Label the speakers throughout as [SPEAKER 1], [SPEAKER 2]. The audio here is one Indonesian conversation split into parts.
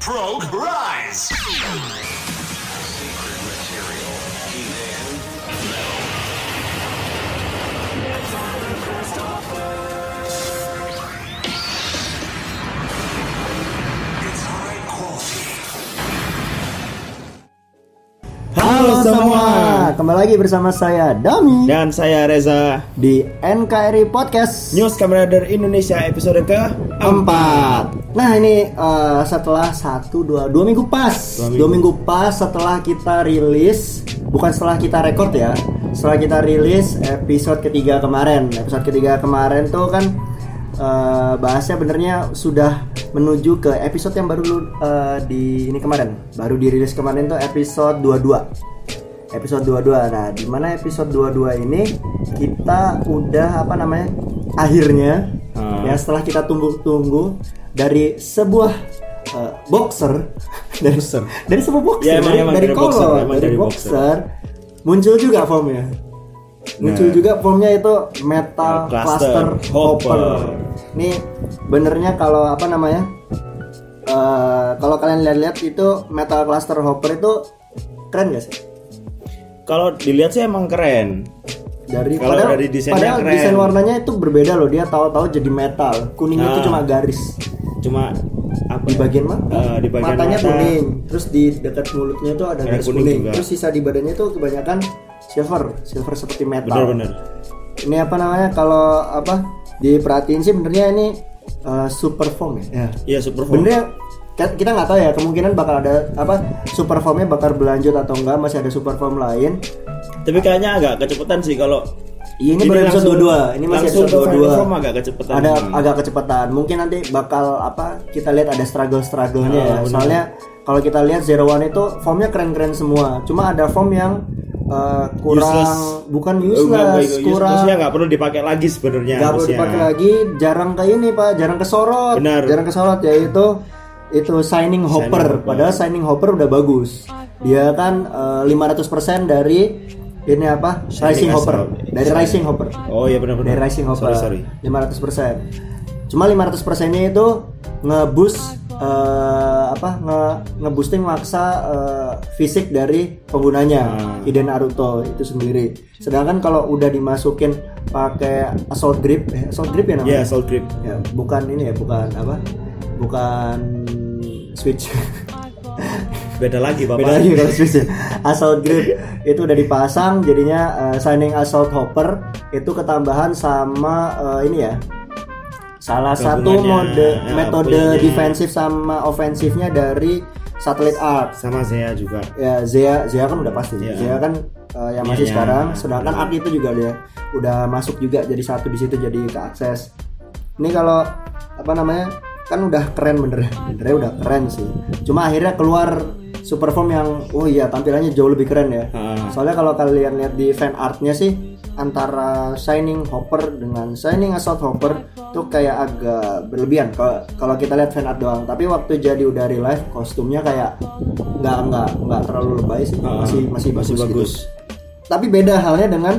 [SPEAKER 1] Probe Rise. It's high quality.
[SPEAKER 2] Halo semua,
[SPEAKER 3] kembali lagi bersama saya Dami
[SPEAKER 2] dan saya Reza
[SPEAKER 3] di NKRI Podcast
[SPEAKER 2] News Kamerader Indonesia episode ke
[SPEAKER 3] 4 Nah ini eh, setelah satu dua dua minggu pas,
[SPEAKER 2] Dua minggu.
[SPEAKER 3] dua minggu pas setelah kita rilis, bukan setelah kita rekod ya, setelah kita rilis episode ketiga kemarin, episode ketiga kemarin tuh kan eh, bahasnya benernya sudah menuju ke episode yang baru eh, di ini kemarin, baru dirilis kemarin tuh episode 22 episode 22 nah di mana episode 22 ini kita udah apa namanya akhirnya
[SPEAKER 2] Ah.
[SPEAKER 3] ya setelah kita tunggu-tunggu dari sebuah eh, boxer dari
[SPEAKER 2] Boxer.
[SPEAKER 3] dari sebuah boxer
[SPEAKER 2] Ya, emang-
[SPEAKER 3] dari,
[SPEAKER 2] emang
[SPEAKER 3] dari
[SPEAKER 2] dari
[SPEAKER 3] Kolo,
[SPEAKER 2] boxer, emang
[SPEAKER 3] dari,
[SPEAKER 2] dari
[SPEAKER 3] boxer, muncul juga formnya muncul
[SPEAKER 2] Nah.
[SPEAKER 3] juga formnya itu metal
[SPEAKER 2] Metal
[SPEAKER 3] cluster,
[SPEAKER 2] cluster
[SPEAKER 3] hopper
[SPEAKER 2] hopper.
[SPEAKER 3] ini benernya kalau apa namanya eh, kalau kalian lihat-lihat itu metal cluster hopper itu keren gak sih
[SPEAKER 2] Kalau dilihat sih emang keren.
[SPEAKER 3] dari
[SPEAKER 2] Kalau
[SPEAKER 3] padahal,
[SPEAKER 2] dari desainnya
[SPEAKER 3] padahal
[SPEAKER 2] keren.
[SPEAKER 3] desain warnanya itu berbeda loh dia tahu-tahu jadi metal kuningnya itu
[SPEAKER 2] Ah.
[SPEAKER 3] cuma garis
[SPEAKER 2] Cuma apa?
[SPEAKER 3] di bagian mata
[SPEAKER 2] Eh, di bagian
[SPEAKER 3] matanya
[SPEAKER 2] mata.
[SPEAKER 3] kuning terus di dekat mulutnya itu ada
[SPEAKER 2] Ada
[SPEAKER 3] garis
[SPEAKER 2] kuning
[SPEAKER 3] kuning,
[SPEAKER 2] juga.
[SPEAKER 3] terus sisa di badannya itu kebanyakan silver silver seperti metal
[SPEAKER 2] Bener-bener.
[SPEAKER 3] ini apa namanya kalau apa diperhatiin sih benernya ini eh, super form ya, ya.
[SPEAKER 2] Iya super form.
[SPEAKER 3] benernya ka- kita nggak tahu ya kemungkinan bakal ada apa super formnya bakal berlanjut atau enggak masih ada super form lain
[SPEAKER 2] Tapi kayaknya agak kecepatan sih kalau
[SPEAKER 3] Iya, ini baru episode 22. Ini masih episode
[SPEAKER 2] langsung ke final
[SPEAKER 3] 22.
[SPEAKER 2] form agak kecepatan.
[SPEAKER 3] ada
[SPEAKER 2] Hmm.
[SPEAKER 3] agak kecepatan mungkin nanti bakal apa kita lihat ada struggle strugglenya
[SPEAKER 2] Ah,
[SPEAKER 3] ya
[SPEAKER 2] bener.
[SPEAKER 3] soalnya kalau kita lihat zero one itu formnya keren keren semua cuma ada form yang eh, kurang
[SPEAKER 2] Useless.
[SPEAKER 3] bukan
[SPEAKER 2] Eh,
[SPEAKER 3] useless
[SPEAKER 2] nggak- nggak-
[SPEAKER 3] kurang
[SPEAKER 2] useless-nya nggak perlu dipakai lagi sebenarnya.
[SPEAKER 3] nggak perlu
[SPEAKER 2] harusnya.
[SPEAKER 3] dipakai lagi jarang ke ini pak jarang ke sorot
[SPEAKER 2] Benar.
[SPEAKER 3] jarang ke sorot yaitu itu signing hopper
[SPEAKER 2] hopper.
[SPEAKER 3] padahal signing hopper udah bagus dia kan eh, 500% dari ini apa rising
[SPEAKER 2] Signing
[SPEAKER 3] hopper
[SPEAKER 2] asal.
[SPEAKER 3] dari rising hopper
[SPEAKER 2] Oh iya benar-benar.
[SPEAKER 3] dari Rising Hopper
[SPEAKER 2] Sorry, sorry.
[SPEAKER 3] 500% cuma 500 persennya itu ngeboost eh, apa nge ngeboosting maksa eh, fisik dari penggunanya
[SPEAKER 2] Ah.
[SPEAKER 3] Hiden Naruto itu sendiri sedangkan kalau udah dimasukin pakai assault grip eh, assault grip ya namanya
[SPEAKER 2] Iya, soul grip.
[SPEAKER 3] ya bukan ini ya bukan apa bukan switch
[SPEAKER 2] Beda lagi, Bapak.
[SPEAKER 3] beda lagi kalau Swiss ya. assault grip itu udah dipasang jadinya eh, signing assault hopper itu ketambahan sama eh, ini ya salah satu
[SPEAKER 2] Gabungannya,
[SPEAKER 3] mode
[SPEAKER 2] ya,
[SPEAKER 3] metode
[SPEAKER 2] punyanya.
[SPEAKER 3] defensif sama ofensifnya dari satelit art
[SPEAKER 2] Sama saya juga.
[SPEAKER 3] ya Zea Zea kan udah pasti
[SPEAKER 2] Iya.
[SPEAKER 3] Zea kan eh, yang masih
[SPEAKER 2] Iya,
[SPEAKER 3] sekarang
[SPEAKER 2] iya.
[SPEAKER 3] sedangkan art itu juga dia udah masuk juga jadi satu di situ jadi ke akses ini kalau apa namanya kan udah keren bener benernya udah keren sih cuma akhirnya keluar super form yang oh iya tampilannya jauh lebih keren ya
[SPEAKER 2] Ah.
[SPEAKER 3] soalnya kalau kalian lihat di fan artnya sih antara shining hopper dengan shining assault hopper tuh kayak agak berlebihan kalau kalau kita lihat fan art doang tapi waktu jadi udah real life kostumnya kayak nggak nggak nggak terlalu lebay sih
[SPEAKER 2] Ah,
[SPEAKER 3] masih masih bagus,
[SPEAKER 2] masih
[SPEAKER 3] gitu.
[SPEAKER 2] bagus.
[SPEAKER 3] tapi beda halnya dengan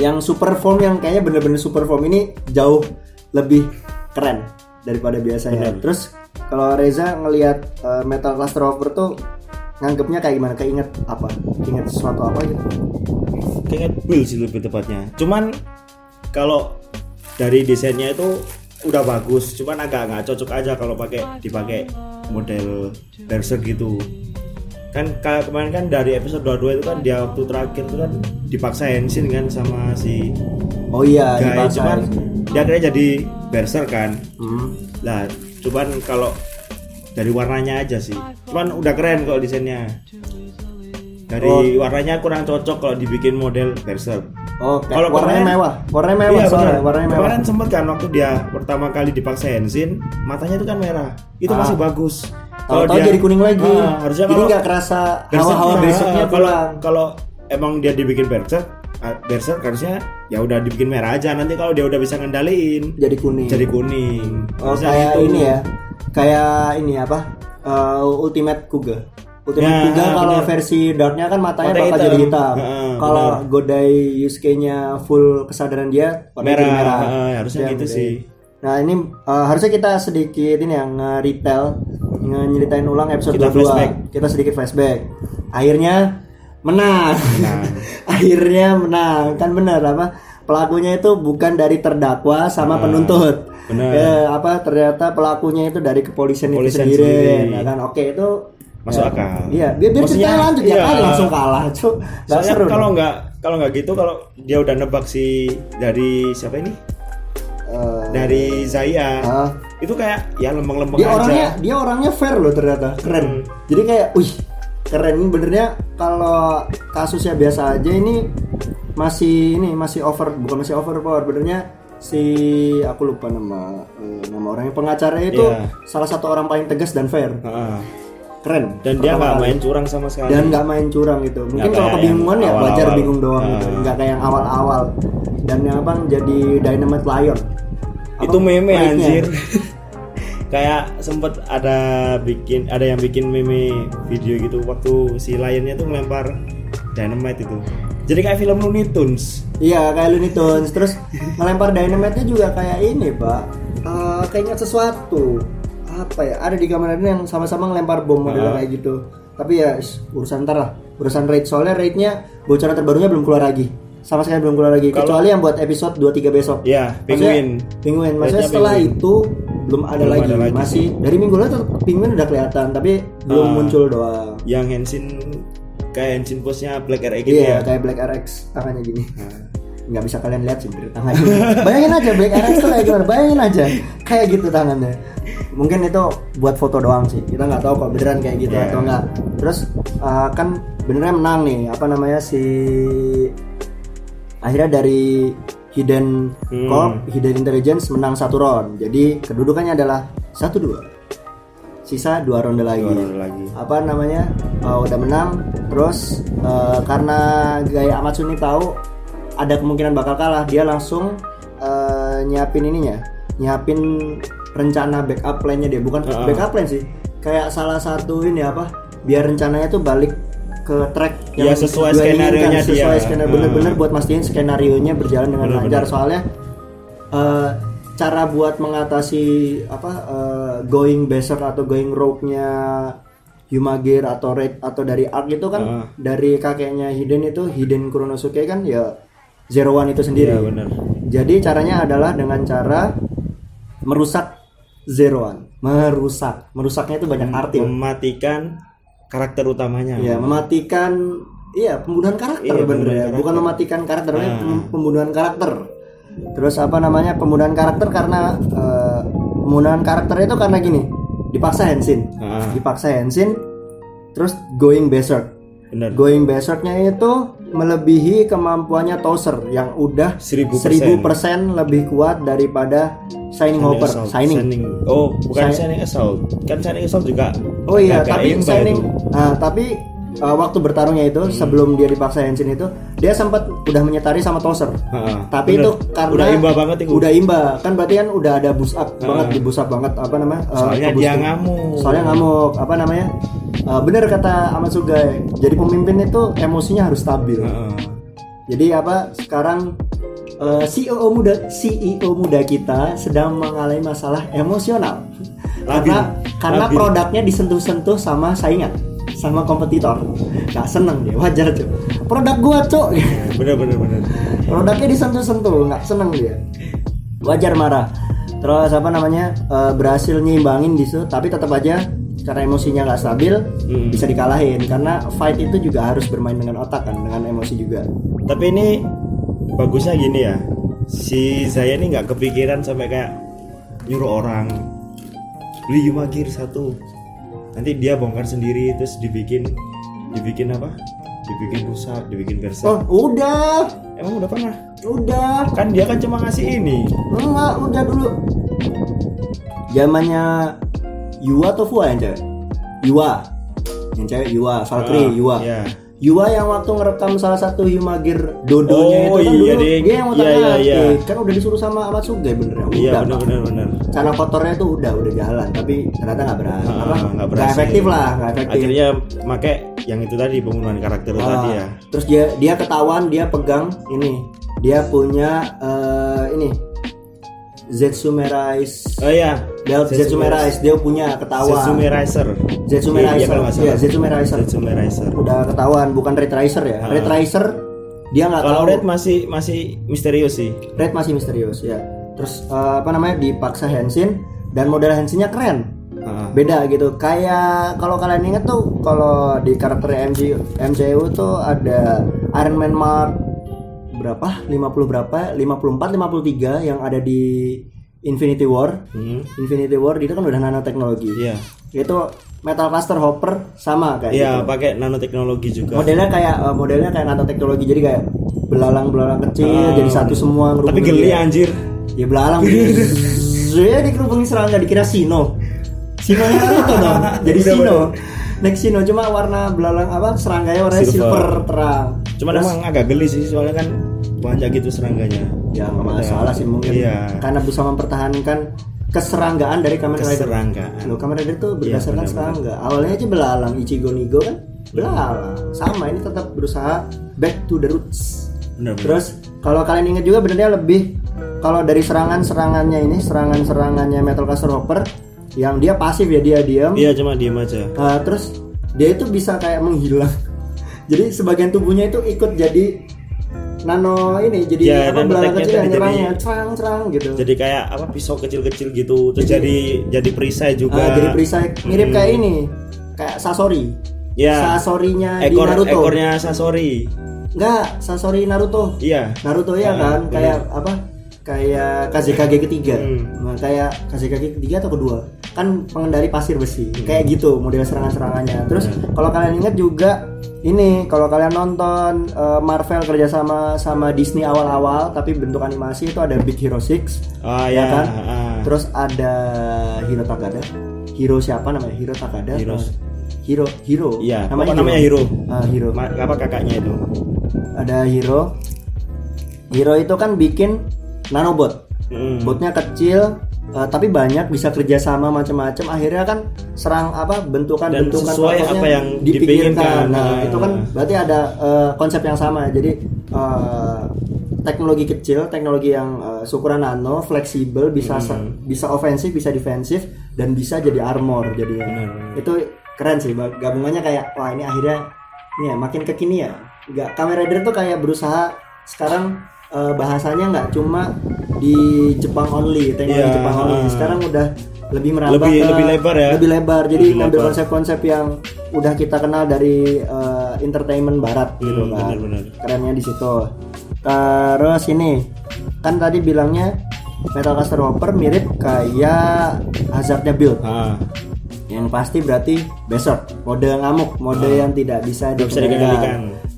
[SPEAKER 3] yang super form yang kayaknya bener-bener super form ini jauh lebih keren daripada biasanya
[SPEAKER 2] Bener.
[SPEAKER 3] terus kalau Reza ngelihat eh, metal cluster over tuh nganggepnya kayak gimana keinget apa inget sesuatu apa gitu
[SPEAKER 2] kayaknya build sih lebih tepatnya cuman kalau dari desainnya itu udah bagus cuman agak nggak cocok aja kalau pakai dipakai model berserk gitu kan kalau kemarin kan dari episode 22 itu kan dia waktu terakhir itu kan dipaksa hensin kan sama si
[SPEAKER 3] Oh iya,
[SPEAKER 2] guy
[SPEAKER 3] dipaksa.
[SPEAKER 2] cuman dia akhirnya jadi berserk kan
[SPEAKER 3] Hmm.
[SPEAKER 2] lah cuman kalau dari warnanya aja sih cuman udah keren kalau desainnya dari warnanya kurang cocok kalau dibikin model berserk
[SPEAKER 3] Oh, kayak
[SPEAKER 2] Kalau
[SPEAKER 3] warnanya
[SPEAKER 2] kemarin-
[SPEAKER 3] mewah. Warnanya mewah
[SPEAKER 2] Iya,
[SPEAKER 3] soalnya,
[SPEAKER 2] benar.
[SPEAKER 3] warnanya mewah.
[SPEAKER 2] Kemarin sempet kan waktu dia pertama kali dipaksa hensin, matanya itu kan merah. Itu
[SPEAKER 3] Ah.
[SPEAKER 2] masih bagus.
[SPEAKER 3] Tahu-tahu jadi kuning lagi.
[SPEAKER 2] Ah, harusnya
[SPEAKER 3] Jadi
[SPEAKER 2] kalau
[SPEAKER 3] nggak kerasa
[SPEAKER 2] berserk-
[SPEAKER 3] hawa-hawa
[SPEAKER 2] ah,
[SPEAKER 3] besoknya
[SPEAKER 2] kalau
[SPEAKER 3] pulang.
[SPEAKER 2] kalau emang dia dibikin berserk, ah, berserk harusnya ya udah dibikin merah aja. Nanti kalau dia udah bisa ngendaliin
[SPEAKER 3] Jadi kuning.
[SPEAKER 2] jadi kuning.
[SPEAKER 3] oh,
[SPEAKER 2] Harusnya
[SPEAKER 3] kayak
[SPEAKER 2] gitu.
[SPEAKER 3] ini ya. Kayak ini apa? Eh, Ultimate Kuga. Ultimate
[SPEAKER 2] Ya,
[SPEAKER 3] Kuga kalau
[SPEAKER 2] benar.
[SPEAKER 3] versi darknya kan matanya
[SPEAKER 2] Matanya
[SPEAKER 3] bakal
[SPEAKER 2] hitam.
[SPEAKER 3] jadi hitam.
[SPEAKER 2] Heeh,
[SPEAKER 3] kalau
[SPEAKER 2] benar.
[SPEAKER 3] Godai Yusuke-nya full kesadaran dia warnanya
[SPEAKER 2] Merah,
[SPEAKER 3] jadi merah. Ya,
[SPEAKER 2] heeh, harusnya
[SPEAKER 3] Dia
[SPEAKER 2] gitu
[SPEAKER 3] Godai.
[SPEAKER 2] sih.
[SPEAKER 3] Nah, ini eh, harusnya kita sedikit ini yang ya, nge-retail nyeritain ulang episode
[SPEAKER 2] Kita
[SPEAKER 3] kedua.
[SPEAKER 2] flashback.
[SPEAKER 3] Kita sedikit flashback. Akhirnya menang.
[SPEAKER 2] Menang.
[SPEAKER 3] Akhirnya menang. Kan benar apa? Pelakunya itu bukan dari terdakwa sama
[SPEAKER 2] Ah,
[SPEAKER 3] penuntut.
[SPEAKER 2] benar.
[SPEAKER 3] Eh, apa ternyata pelakunya itu dari kepolisian,
[SPEAKER 2] Kepolisian
[SPEAKER 3] itu sendiri.
[SPEAKER 2] sendiri.
[SPEAKER 3] Nah, kan oke itu
[SPEAKER 2] Masuk
[SPEAKER 3] ya,
[SPEAKER 2] akal.
[SPEAKER 3] Iya, biar, biar
[SPEAKER 2] Maksudnya,
[SPEAKER 3] ceritanya lanjut ya
[SPEAKER 2] iya.
[SPEAKER 3] kan langsung kalah, Cuk. Nggak
[SPEAKER 2] Soalnya
[SPEAKER 3] seru.
[SPEAKER 2] kalau
[SPEAKER 3] dong.
[SPEAKER 2] nggak kalau nggak gitu kalau dia udah nebak si dari siapa ini
[SPEAKER 3] Eh,
[SPEAKER 2] dari Zaya
[SPEAKER 3] Ah.
[SPEAKER 2] itu kayak ya lembang-lembang
[SPEAKER 3] dia
[SPEAKER 2] aja.
[SPEAKER 3] orangnya dia orangnya fair loh ternyata keren
[SPEAKER 2] Hmm.
[SPEAKER 3] jadi kayak wih keren ini benernya kalau kasusnya biasa aja ini masih ini masih over bukan masih overpower benernya si aku lupa nama eh, nama orangnya pengacara itu
[SPEAKER 2] Iya.
[SPEAKER 3] salah satu orang paling tegas dan fair
[SPEAKER 2] Heeh.
[SPEAKER 3] keren
[SPEAKER 2] Ah. dan
[SPEAKER 3] Pertama
[SPEAKER 2] dia nggak
[SPEAKER 3] kali.
[SPEAKER 2] main curang sama sekali.
[SPEAKER 3] dan nggak main curang gitu mungkin
[SPEAKER 2] Nggak
[SPEAKER 3] kalau
[SPEAKER 2] kayak
[SPEAKER 3] kebingungan
[SPEAKER 2] yang
[SPEAKER 3] ya wajar
[SPEAKER 2] awal-awal.
[SPEAKER 3] bingung doang gitu
[SPEAKER 2] Ah.
[SPEAKER 3] nggak kayak yang awal-awal dan yang apa jadi dynamite lion Apa?
[SPEAKER 2] itu meme
[SPEAKER 3] Baiknya.
[SPEAKER 2] anjir kayak sempet ada bikin ada yang bikin meme video gitu waktu si lionnya tuh melempar dynamite itu jadi kayak film Looney Tunes
[SPEAKER 3] Iya kayak Looney Tunes Terus ngelempar dynamite-nya juga kayak ini pak Eh, Kayaknya sesuatu Apa ya Ada di kamar ini yang sama-sama ngelempar bom model
[SPEAKER 2] Ah.
[SPEAKER 3] kayak gitu Tapi ya sh, urusan ntar lah Urusan raid Soalnya raidnya bocoran terbarunya belum keluar lagi Sama sekali belum keluar lagi
[SPEAKER 2] Kalau-
[SPEAKER 3] Kecuali yang buat episode 2-3 besok
[SPEAKER 2] Iya,
[SPEAKER 3] Maksudnya-
[SPEAKER 2] Penguin.
[SPEAKER 3] Penguin Maksudnya
[SPEAKER 2] Raidnya
[SPEAKER 3] setelah
[SPEAKER 2] Penguin.
[SPEAKER 3] itu belum ada,
[SPEAKER 2] Belum
[SPEAKER 3] lagi.
[SPEAKER 2] ada lagi.
[SPEAKER 3] Masih dari minggu lalu tetap penguin udah kelihatan Tapi belum
[SPEAKER 2] Ah.
[SPEAKER 3] muncul doang
[SPEAKER 2] yang Henshin kayak Henshin postnya Black RE
[SPEAKER 3] Iya,
[SPEAKER 2] gitu ya Hmm.
[SPEAKER 3] kayak Black RX tangannya gini. Nggak bisa kalian lihat sih dari tangannya. Bayangin aja Black RX tuh kayak gimana? Bayangin aja kayak gitu tangannya. Mungkin itu buat foto doang sih. Kita nggak tahu kok beneran kayak gitu
[SPEAKER 2] Iya.
[SPEAKER 3] atau nggak. Terus uh, kan benernya menang nih. Apa namanya si akhirnya dari Hidden
[SPEAKER 2] Hmm.
[SPEAKER 3] Corp, Hidden Intelligence menang satu round. Jadi kedudukannya adalah satu dua. Sisa dua ronde lagi
[SPEAKER 2] Dua ronde lagi.
[SPEAKER 3] apa namanya uh, udah menang terus uh, karena gaya Amatsuni tahu ada kemungkinan bakal kalah dia langsung uh, nyiapin ininya nyiapin rencana backup plan-nya dia bukan
[SPEAKER 2] Heeh.
[SPEAKER 3] backup plan sih kayak salah satu ini apa biar rencananya tuh balik ke track
[SPEAKER 2] Ya, sesuai
[SPEAKER 3] gue inginkan,
[SPEAKER 2] skenarionya dia.
[SPEAKER 3] kan, sesuai skenario
[SPEAKER 2] Heeh.
[SPEAKER 3] bener-bener buat mastiin skenario nya berjalan dengan
[SPEAKER 2] Bener-bener.
[SPEAKER 3] lancar soalnya eh, cara buat mengatasi apa eh, going berserk atau going rogue-nya Yumagir atau Raid atau dari Ark itu kan
[SPEAKER 2] Ah.
[SPEAKER 3] dari kakeknya Hiden itu Hiden Kuronosuke kan ya Zero One itu sendiri.
[SPEAKER 2] Iya, bener.
[SPEAKER 3] Jadi caranya adalah dengan cara merusak Zero One, merusak. Merusaknya itu
[SPEAKER 2] Hmm,
[SPEAKER 3] banyak arti. loh.
[SPEAKER 2] mematikan karakter utamanya
[SPEAKER 3] Iya, mematikan iya pembunuhan karakter
[SPEAKER 2] Iya,
[SPEAKER 3] bener
[SPEAKER 2] pembunuhan
[SPEAKER 3] ya.
[SPEAKER 2] karakter.
[SPEAKER 3] Bukan mematikan karakter, tapi
[SPEAKER 2] Ah.
[SPEAKER 3] pem- pembunuhan karakter. Terus apa namanya? Pembunuhan karakter karena eh, pembunuhan karakter itu karena gini, dipaksa Henshin.
[SPEAKER 2] Ah.
[SPEAKER 3] Dipaksa Henshin terus going berserk.
[SPEAKER 2] bener
[SPEAKER 3] Going berserknya itu melebihi kemampuannya Toser yang udah
[SPEAKER 2] 1000%.
[SPEAKER 3] 1000% lebih kuat daripada Shining Hopper.
[SPEAKER 2] Assault.
[SPEAKER 3] Shining.
[SPEAKER 2] oh bukan
[SPEAKER 3] Shining.
[SPEAKER 2] Shining Assault kan Shining Assault juga
[SPEAKER 3] Oh iya,
[SPEAKER 2] agak
[SPEAKER 3] tapi
[SPEAKER 2] imba
[SPEAKER 3] signing,
[SPEAKER 2] itu. Hmm.
[SPEAKER 3] ah, tapi ah, waktu bertarungnya itu sebelum dia dipaksa Henshin itu dia sempat udah menyetari sama Toser.
[SPEAKER 2] Heeh,
[SPEAKER 3] Tapi
[SPEAKER 2] bener.
[SPEAKER 3] itu karena
[SPEAKER 2] Udah imba banget itu.
[SPEAKER 3] Udah imba. Kan berarti kan udah ada boost up
[SPEAKER 2] Heeh.
[SPEAKER 3] banget di boost up banget apa namanya? ah,
[SPEAKER 2] Soalnya
[SPEAKER 3] ke boost
[SPEAKER 2] dia
[SPEAKER 3] up.
[SPEAKER 2] ngamuk.
[SPEAKER 3] Soalnya ngamuk, apa namanya? Ah, bener kata Amatsugai. Jadi pemimpin itu emosinya harus stabil.
[SPEAKER 2] Heeh.
[SPEAKER 3] Jadi apa sekarang eh, CEO muda CEO muda kita sedang mengalami masalah emosional
[SPEAKER 2] Labil.
[SPEAKER 3] karena karena
[SPEAKER 2] Labil.
[SPEAKER 3] produknya disentuh-sentuh sama saingan sama kompetitor nggak seneng dia wajar tuh produk gua cok
[SPEAKER 2] bener bener bener
[SPEAKER 3] produknya disentuh-sentuh nggak seneng dia wajar marah terus apa namanya eh, berhasil nyimbangin di situ tapi tetap aja karena emosinya nggak stabil
[SPEAKER 2] Hmm.
[SPEAKER 3] bisa dikalahin karena fight itu juga harus bermain dengan otak kan dengan emosi juga
[SPEAKER 2] tapi ini bagusnya gini ya si saya ini nggak kepikiran sampai kayak nyuruh orang beli Yumagir satu nanti dia bongkar sendiri terus dibikin dibikin apa dibikin rusak dibikin berserk
[SPEAKER 3] Oh, udah,
[SPEAKER 2] emang udah pernah
[SPEAKER 3] udah,
[SPEAKER 2] kan dia kan cuma ngasih ini
[SPEAKER 3] enggak, udah dulu. Zamannya Yua atau Fua yang cewek? Yua, yang cewek Yua, Valkyrie
[SPEAKER 2] Ah,
[SPEAKER 3] Yua.
[SPEAKER 2] iya.
[SPEAKER 3] Yua yang waktu ngerekam salah satu Yumagir Dodonya itu kan
[SPEAKER 2] Oh, iya,
[SPEAKER 3] dulu
[SPEAKER 2] Ding.
[SPEAKER 3] dia yang
[SPEAKER 2] Iya,
[SPEAKER 3] utara
[SPEAKER 2] iya, iya.
[SPEAKER 3] kan udah disuruh sama Amatsuga bener ya?
[SPEAKER 2] iya
[SPEAKER 3] udah
[SPEAKER 2] bener
[SPEAKER 3] Pak.
[SPEAKER 2] bener bener
[SPEAKER 3] cara kotornya tuh udah udah jalan tapi ternyata nggak berhasil
[SPEAKER 2] Ah,
[SPEAKER 3] apa
[SPEAKER 2] nggak
[SPEAKER 3] nggak
[SPEAKER 2] berhasil.
[SPEAKER 3] efektif lah nggak efektif
[SPEAKER 2] akhirnya make yang itu tadi pembunuhan karakter
[SPEAKER 3] Ah,
[SPEAKER 2] tadi ya
[SPEAKER 3] Terus dia dia ketahuan dia pegang ini. Dia punya eh, ini Zetsume Rise
[SPEAKER 2] Oh iya,
[SPEAKER 3] Del- Zetsume Rise dia punya ketawa
[SPEAKER 2] Zetsume Riser.
[SPEAKER 3] Zetsume
[SPEAKER 2] Iya, iya,
[SPEAKER 3] Riser.
[SPEAKER 2] kalau nggak salah.
[SPEAKER 3] Iya, Zetsume Riser.
[SPEAKER 2] Zetsume Riser.
[SPEAKER 3] udah ketahuan bukan Red Riser ya
[SPEAKER 2] Ah.
[SPEAKER 3] Red Riser dia nggak
[SPEAKER 2] Kalau
[SPEAKER 3] tahu
[SPEAKER 2] Red masih masih misterius sih.
[SPEAKER 3] Red masih misterius ya terus eh, apa namanya dipaksa Henshin dan model Henshinnya keren
[SPEAKER 2] Ah.
[SPEAKER 3] beda gitu kayak kalau kalian inget tuh kalau di karakter MJ MCU tuh ada Iron Man Mark berapa 50 berapa 54 53 yang ada di Infinity War
[SPEAKER 2] Hmm.
[SPEAKER 3] Infinity War itu kan udah nanoteknologi
[SPEAKER 2] Iya.
[SPEAKER 3] itu metal caster hopper sama kayak
[SPEAKER 2] Iya,
[SPEAKER 3] gitu.
[SPEAKER 2] pakai nanoteknologi juga.
[SPEAKER 3] modelnya kayak eh, modelnya kayak nanoteknologi jadi kayak belalang-belalang kecil
[SPEAKER 2] Ah.
[SPEAKER 3] jadi satu semua
[SPEAKER 2] Tapi
[SPEAKER 3] ngerubungin
[SPEAKER 2] geli
[SPEAKER 3] dia.
[SPEAKER 2] anjir.
[SPEAKER 3] ya belalang ya dikerubungin serangga dikira Sino Sino Naruto dong jadi
[SPEAKER 2] Udah,
[SPEAKER 3] Sino next Sino cuma warna belalang apa serangganya warnanya
[SPEAKER 2] Silver.
[SPEAKER 3] silver, terang
[SPEAKER 2] Cuman
[SPEAKER 3] Terus,
[SPEAKER 2] emang agak geli sih soalnya kan banyak gitu serangganya.
[SPEAKER 3] ya nggak masalah sih mungkin
[SPEAKER 2] Iya.
[SPEAKER 3] karena bisa mempertahankan keseranggaan dari Kamen Rider
[SPEAKER 2] Keseranggaan.
[SPEAKER 3] Loh, Kamen Rider tuh
[SPEAKER 2] Iya,
[SPEAKER 3] berdasarkan
[SPEAKER 2] benar-benar.
[SPEAKER 3] serangga awalnya aja belalang Ichigo Nigo kan belalang sama ini tetap berusaha back to the roots
[SPEAKER 2] Bener, bener.
[SPEAKER 3] Terus kalau kalian ingat juga benernya lebih kalau dari serangan-serangannya ini serangan-serangannya Metal Caster Hopper yang dia pasif ya dia diam.
[SPEAKER 2] Iya, cuma diem aja.
[SPEAKER 3] Uh, terus dia itu bisa kayak menghilang. Jadi sebagian tubuhnya itu ikut jadi nano ini jadi
[SPEAKER 2] Iya,
[SPEAKER 3] apa
[SPEAKER 2] nano
[SPEAKER 3] belalang
[SPEAKER 2] tagnya
[SPEAKER 3] kecil yang
[SPEAKER 2] tadi jadi-
[SPEAKER 3] nyerangnya cerang-cerang gitu.
[SPEAKER 2] Jadi kayak apa pisau kecil-kecil gitu. Terus jadi jadi perisai juga. Hmm.
[SPEAKER 3] Ah, jadi perisai mirip kayak ini kayak Sasori.
[SPEAKER 2] Iya.
[SPEAKER 3] Sasorinya
[SPEAKER 2] ekor
[SPEAKER 3] di Naruto.
[SPEAKER 2] ekornya Sasori.
[SPEAKER 3] Enggak, Sasori Naruto.
[SPEAKER 2] Iya.
[SPEAKER 3] Naruto ya
[SPEAKER 2] Ah,
[SPEAKER 3] kan
[SPEAKER 2] bener.
[SPEAKER 3] kayak apa kayak KZKG ketiga
[SPEAKER 2] Hmm.
[SPEAKER 3] nah, kayak KZKG ketiga atau kedua kan pengendali pasir besi
[SPEAKER 2] Hmm.
[SPEAKER 3] kayak gitu model serangan-serangannya terus kalau kalian ingat juga ini kalau kalian nonton eh, Marvel kerjasama sama Disney awal-awal tapi bentuk animasi itu ada Big Hero 6
[SPEAKER 2] Ah
[SPEAKER 3] ya
[SPEAKER 2] ya.
[SPEAKER 3] kan
[SPEAKER 2] ah.
[SPEAKER 3] terus ada Hiro Takada Hiro siapa namanya Hiro Takada
[SPEAKER 2] Hero.
[SPEAKER 3] apa? Hiro Hiro
[SPEAKER 2] Iya, pokoknya namanya Hiro.
[SPEAKER 3] Ah, Hiro
[SPEAKER 2] Ma- apa kakaknya itu?
[SPEAKER 3] ada Hiro Hiro itu kan bikin nanobot
[SPEAKER 2] Mm.
[SPEAKER 3] botnya kecil eh, tapi banyak bisa kerja sama macam-macam akhirnya kan serang apa bentukan
[SPEAKER 2] Dan
[SPEAKER 3] bentukan
[SPEAKER 2] sesuai
[SPEAKER 3] pokoknya
[SPEAKER 2] apa yang dipinginkan.
[SPEAKER 3] dipikirkan nah
[SPEAKER 2] Ah.
[SPEAKER 3] itu kan berarti ada eh, konsep yang sama jadi eh, teknologi kecil teknologi yang eh, syukuran nano fleksibel bisa
[SPEAKER 2] Hmm.
[SPEAKER 3] se- bisa ofensif bisa defensif dan bisa jadi armor jadi
[SPEAKER 2] Benar.
[SPEAKER 3] itu keren sih ba- gabungannya kayak wah ini akhirnya ini ya makin kekinian nggak Kamen Rider tuh kayak berusaha sekarang eh, bahasanya nggak cuma di Jepang only teknologi
[SPEAKER 2] Iya,
[SPEAKER 3] Jepang only
[SPEAKER 2] ah.
[SPEAKER 3] sekarang udah lebih merambah
[SPEAKER 2] Lebih-
[SPEAKER 3] ke-
[SPEAKER 2] lebih lebar ya?
[SPEAKER 3] lebih lebar jadi
[SPEAKER 2] Lebih
[SPEAKER 3] ngambil
[SPEAKER 2] lebar.
[SPEAKER 3] konsep-konsep yang udah kita kenal dari eh, entertainment barat gitu
[SPEAKER 2] Hmm,
[SPEAKER 3] kan
[SPEAKER 2] benar-benar.
[SPEAKER 3] kerennya di situ terus ini kan tadi bilangnya Metal Caster Hopper mirip kayak Hazardnya Build
[SPEAKER 2] Ah,
[SPEAKER 3] yang pasti berarti besok mode ngamuk mode yang tidak bisa
[SPEAKER 2] Nggak Hmm. bisa dikendalikan.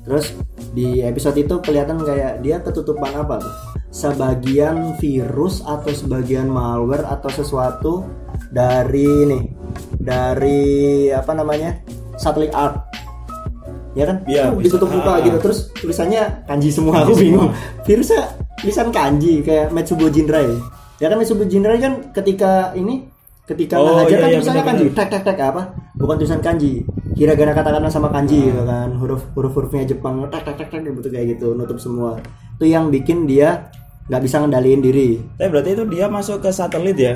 [SPEAKER 3] terus di episode itu kelihatan kayak dia ketutupan apa tuh sebagian virus atau sebagian malware atau sesuatu dari ini dari apa namanya satelit art ya kan
[SPEAKER 2] Iya,
[SPEAKER 3] Tuh,
[SPEAKER 2] bisa.
[SPEAKER 3] ditutup buka
[SPEAKER 2] Ah.
[SPEAKER 3] gitu terus tulisannya kanji semua aku bingung virusnya tulisan kanji kayak Metsubo Jinrai ya kan Metsubo Jinrai kan ketika ini ketika
[SPEAKER 2] Oh,
[SPEAKER 3] ngehajar
[SPEAKER 2] iya,
[SPEAKER 3] kan
[SPEAKER 2] iya,
[SPEAKER 3] tulisannya
[SPEAKER 2] benar-benar.
[SPEAKER 3] kanji tek tek tek apa bukan tulisan kanji hiragana katakana sama kanji gitu kan huruf huruf hurufnya Jepang tek tek tek tek gitu kayak gitu nutup semua itu yang bikin dia nggak bisa ngendaliin diri
[SPEAKER 2] tapi berarti itu dia masuk ke satelit ya?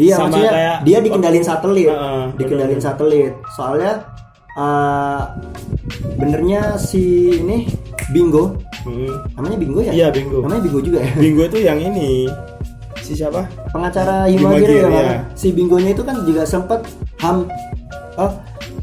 [SPEAKER 3] Iya
[SPEAKER 2] Sama
[SPEAKER 3] maksudnya
[SPEAKER 2] kayak-
[SPEAKER 3] dia dikendalin satelit,
[SPEAKER 2] Heeh,
[SPEAKER 3] dikendalin satelit. Soalnya eh, benernya si ini Bingo,
[SPEAKER 2] Hmm.
[SPEAKER 3] namanya Bingo ya?
[SPEAKER 2] Iya, Bingo.
[SPEAKER 3] Namanya Bingo juga ya.
[SPEAKER 2] Bingo itu yang ini. Si siapa?
[SPEAKER 3] Pengacara
[SPEAKER 2] Himawari,
[SPEAKER 3] Himawari ya,
[SPEAKER 2] iya.
[SPEAKER 3] Bang? si Bingonya itu kan juga sempat ham oh,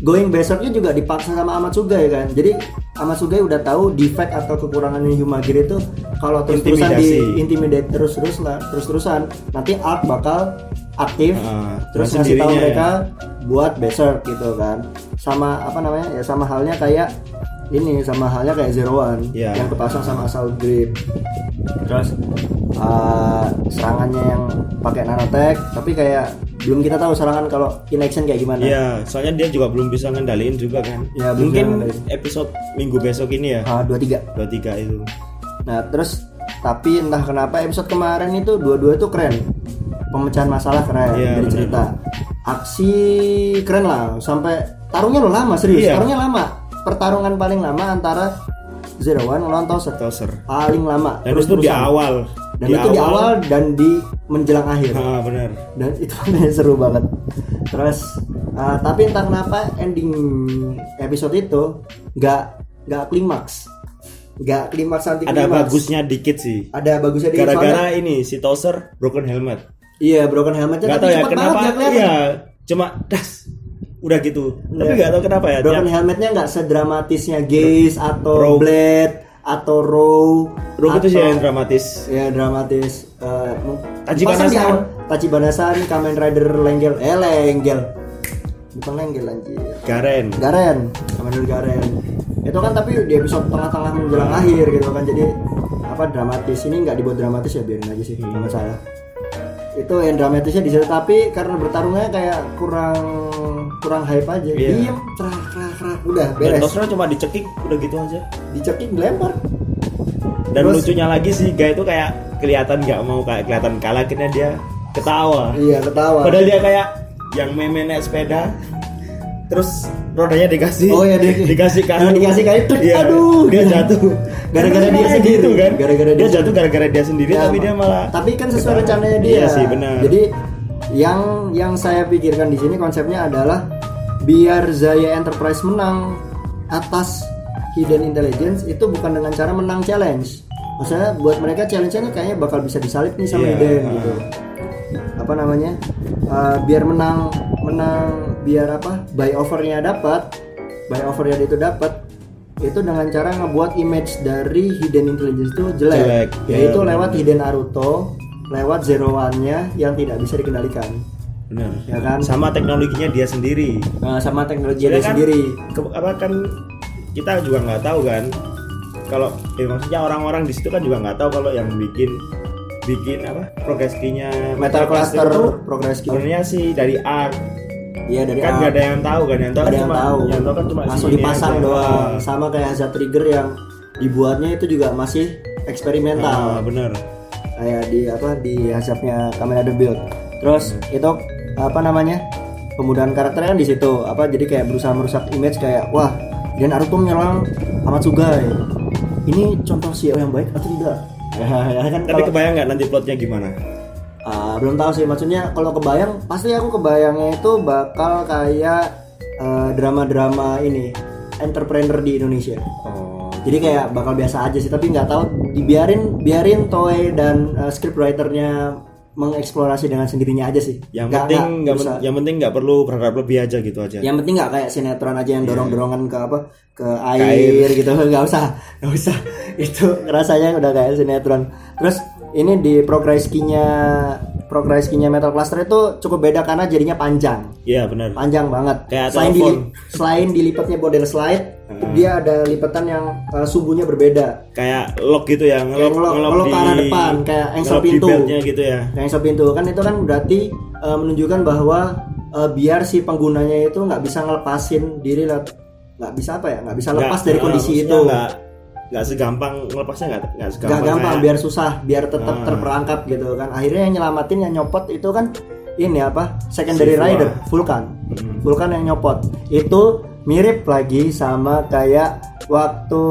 [SPEAKER 3] going berserknya juga dipaksa sama Amatsugai kan. Jadi Amatsugai udah tahu defect atau kekurangannya Himagiri itu kalau terus-terusan
[SPEAKER 2] Intimidasi.
[SPEAKER 3] di intimidate terus-terus nah, terus-terusan nanti Ark bakal aktif
[SPEAKER 2] Ah,
[SPEAKER 3] terus
[SPEAKER 2] dengan
[SPEAKER 3] ngasih tahu
[SPEAKER 2] sendirinya
[SPEAKER 3] mereka buat berserk gitu kan sama apa namanya ya sama halnya kayak ini sama halnya kayak Zero One
[SPEAKER 2] Iya.
[SPEAKER 3] yang kepasang sama asal grip terus uh, serangannya yang pakai nanotech tapi kayak belum kita tahu serangan kalau in action kayak gimana
[SPEAKER 2] Iya, soalnya dia juga belum bisa ngendaliin juga kan.
[SPEAKER 3] Iya, belum bisa
[SPEAKER 2] Mungkin
[SPEAKER 3] ngendaliin.
[SPEAKER 2] episode minggu besok ini ya.
[SPEAKER 3] Ah, dua tiga
[SPEAKER 2] Dua tiga itu.
[SPEAKER 3] nah terus tapi entah kenapa episode kemarin itu dua-dua itu keren pemecahan masalah keren dari
[SPEAKER 2] Iya, benar.
[SPEAKER 3] cerita aksi keren lah sampai tarungnya lo lama serius
[SPEAKER 2] Iya.
[SPEAKER 3] tarungnya lama pertarungan paling lama antara Zero One lawan Towser
[SPEAKER 2] Toser.
[SPEAKER 3] paling lama
[SPEAKER 2] Dan itu di
[SPEAKER 3] terus-terusan.
[SPEAKER 2] awal.
[SPEAKER 3] Dan
[SPEAKER 2] Di
[SPEAKER 3] itu di awal
[SPEAKER 2] awal.
[SPEAKER 3] dan di menjelang akhir.
[SPEAKER 2] Ah, bener.
[SPEAKER 3] Dan itu makanya seru banget. Terus uh, tapi entah kenapa ending episode itu nggak nggak klimaks. Nggak klimaks anti
[SPEAKER 2] Ada
[SPEAKER 3] klimaks.
[SPEAKER 2] bagusnya dikit sih.
[SPEAKER 3] Ada bagusnya di
[SPEAKER 2] Gara-gara ini si Toser broken helmet.
[SPEAKER 3] Iya, broken helmetnya
[SPEAKER 2] Gak
[SPEAKER 3] tapi
[SPEAKER 2] tau ya
[SPEAKER 3] cepet
[SPEAKER 2] kenapa.
[SPEAKER 3] banget nggak kelihatan.
[SPEAKER 2] Iya, cuma das. Udah gitu. Tapi
[SPEAKER 3] Iya.
[SPEAKER 2] gak tau kenapa ya.
[SPEAKER 3] Broken
[SPEAKER 2] tiap-
[SPEAKER 3] helmetnya nggak sedramatisnya Gaze atau
[SPEAKER 2] Rogue.
[SPEAKER 3] Blade atau Row.
[SPEAKER 2] Rogue itu sih
[SPEAKER 3] atau-
[SPEAKER 2] yang dramatis.
[SPEAKER 3] Ya dramatis. Eh, mu-
[SPEAKER 2] Tachibana-san.
[SPEAKER 3] pasang di awal. Tachibana-san, Kamen Rider Lenggel, eh Lenggel, bukan Lenggel anjir.
[SPEAKER 2] Garen.
[SPEAKER 3] Garen, Kamen Rider Garen. Itu kan tapi di episode tengah-tengah menjelang akhir gitu kan jadi apa dramatis ini nggak dibuat dramatis ya biarin aja sih nggak masalah. Itu yang dramatisnya di situ tapi karena bertarungnya kayak kurang kurang hype aja.
[SPEAKER 2] Iya.
[SPEAKER 3] Diem, cerak, cerak, cerak, udah
[SPEAKER 2] Dan
[SPEAKER 3] beres.
[SPEAKER 2] Toser cuma dicekik udah gitu aja.
[SPEAKER 3] Dicekik dilempar.
[SPEAKER 2] Dan
[SPEAKER 3] Terus-
[SPEAKER 2] lucunya lagi si Guy itu kayak kelihatan nggak mau kayak kelihatan kalah akhirnya dia ketawa.
[SPEAKER 3] Iya ketawa.
[SPEAKER 2] Padahal dia kayak yang meme naik sepeda terus rodanya dikasih
[SPEAKER 3] Oh, iya, dia-
[SPEAKER 2] dikasih kayu
[SPEAKER 3] Yang dikasih kayu, tuk,
[SPEAKER 2] Iya,
[SPEAKER 3] aduh.
[SPEAKER 2] dia jatuh
[SPEAKER 3] Gara-gara dia
[SPEAKER 2] Kayak
[SPEAKER 3] sendiri.
[SPEAKER 2] gitu, kan
[SPEAKER 3] Gara-gara
[SPEAKER 2] dia,
[SPEAKER 3] dia
[SPEAKER 2] jatuh gara-gara dia sendiri
[SPEAKER 3] Ya,
[SPEAKER 2] tapi dia malah
[SPEAKER 3] tapi kan sesuai
[SPEAKER 2] ketawa.
[SPEAKER 3] rencananya dia
[SPEAKER 2] iya sih benar
[SPEAKER 3] jadi yang yang saya pikirkan di sini konsepnya adalah biar Zaya Enterprise menang atas Hidden Intelligence itu bukan dengan cara menang challenge maksudnya buat mereka challenge-nya kayaknya bakal bisa disalip nih sama
[SPEAKER 2] Iya,
[SPEAKER 3] Hidden
[SPEAKER 2] ah.
[SPEAKER 3] gitu apa namanya uh, biar menang menang biar apa buy overnya dapat buy overnya itu dapat itu dengan cara ngebuat image dari hidden intelligence itu jelek,
[SPEAKER 2] Jelek,
[SPEAKER 3] yaitu
[SPEAKER 2] iya,
[SPEAKER 3] lewat
[SPEAKER 2] benar.
[SPEAKER 3] hidden Naruto lewat zero one-nya yang tidak bisa dikendalikan
[SPEAKER 2] benar
[SPEAKER 3] ya kan
[SPEAKER 2] Iya. sama teknologinya dia sendiri
[SPEAKER 3] Nah, sama teknologi
[SPEAKER 2] Dia
[SPEAKER 3] dia
[SPEAKER 2] kan-
[SPEAKER 3] sendiri
[SPEAKER 2] Ke- apa kan kita juga nggak tahu kan kalau ya maksudnya orang-orang di situ kan juga nggak tahu kalau yang bikin bikin apa progress key-nya
[SPEAKER 3] metal
[SPEAKER 2] progress key
[SPEAKER 3] cluster
[SPEAKER 2] itu
[SPEAKER 3] progress key
[SPEAKER 2] sebenarnya sih dari art
[SPEAKER 3] iya dari
[SPEAKER 2] kan
[SPEAKER 3] A.
[SPEAKER 2] nggak ada yang tahu kan yang tahu
[SPEAKER 3] Nggak
[SPEAKER 2] kan
[SPEAKER 3] ada yang
[SPEAKER 2] cuma
[SPEAKER 3] tahu
[SPEAKER 2] yang tahu kan cuma
[SPEAKER 3] langsung
[SPEAKER 2] sini
[SPEAKER 3] dipasang
[SPEAKER 2] aja. Ah,
[SPEAKER 3] doang sama kayak hazard trigger yang dibuatnya itu juga masih eksperimental
[SPEAKER 2] ah, bener
[SPEAKER 3] kayak di apa di asapnya kamera the build terus itu apa namanya pembudahan karakternya kan di situ apa jadi kayak berusaha merusak image kayak wah dan Naruto menyerang Amatsuga ini contoh CEO yang baik atau tidak ya kan
[SPEAKER 2] tapi
[SPEAKER 3] kalau-
[SPEAKER 2] kebayang nggak nanti plotnya gimana
[SPEAKER 3] Ah, belum tahu sih maksudnya kalau kebayang pasti aku kebayangnya itu bakal kayak eh, drama-drama ini entrepreneur di Indonesia
[SPEAKER 2] oh
[SPEAKER 3] jadi kayak bakal biasa aja sih tapi nggak tahu dibiarin biarin Toei dan uh, scriptwriternya mengeksplorasi dengan sendirinya aja sih
[SPEAKER 2] yang
[SPEAKER 3] Nggak- Ya.
[SPEAKER 2] penting nggak
[SPEAKER 3] nggak
[SPEAKER 2] men- ya.
[SPEAKER 3] usah.
[SPEAKER 2] yang penting nggak perlu berharap lebih aja gitu aja
[SPEAKER 3] yang penting nggak kayak sinetron aja yang dorong dorongan ke apa ke air,
[SPEAKER 2] Iya. air.
[SPEAKER 3] gitu nggak usah nggak usah itu rasanya udah kayak sinetron terus ini di progress key-nya progress key-nya metal cluster itu cukup beda karena jadinya panjang
[SPEAKER 2] iya benar
[SPEAKER 3] panjang banget.
[SPEAKER 2] Kayak Hmm.
[SPEAKER 3] selain
[SPEAKER 2] telepon.
[SPEAKER 3] dili- selain dilipatnya model slide, dia ada lipatan yang uh, subunya berbeda.
[SPEAKER 2] kayak lock gitu ya ngelok
[SPEAKER 3] ngelok- ngelok ke arah depan, kayak engsel
[SPEAKER 2] ngelok di
[SPEAKER 3] pintu.
[SPEAKER 2] beltnya gitu ya
[SPEAKER 3] Yang sub itu kan itu kan berarti uh, menunjukkan bahwa uh, biar si penggunanya itu nggak bisa ngelepasin diri lah- nggak bisa apa ya nggak bisa lepas dari
[SPEAKER 2] eh,
[SPEAKER 3] kondisi
[SPEAKER 2] maksudnya
[SPEAKER 3] itu
[SPEAKER 2] nggak nggak segampang melepasnya nggak nggak segampang
[SPEAKER 3] nggak gampang
[SPEAKER 2] kayak-
[SPEAKER 3] biar susah biar tetap
[SPEAKER 2] Ah.
[SPEAKER 3] terperangkap gitu kan akhirnya yang nyelamatin yang nyopot itu kan ini apa secondary
[SPEAKER 2] Si Fulan.
[SPEAKER 3] rider Vulkan
[SPEAKER 2] Mm.
[SPEAKER 3] Vulkan yang nyopot itu mirip lagi sama kayak waktu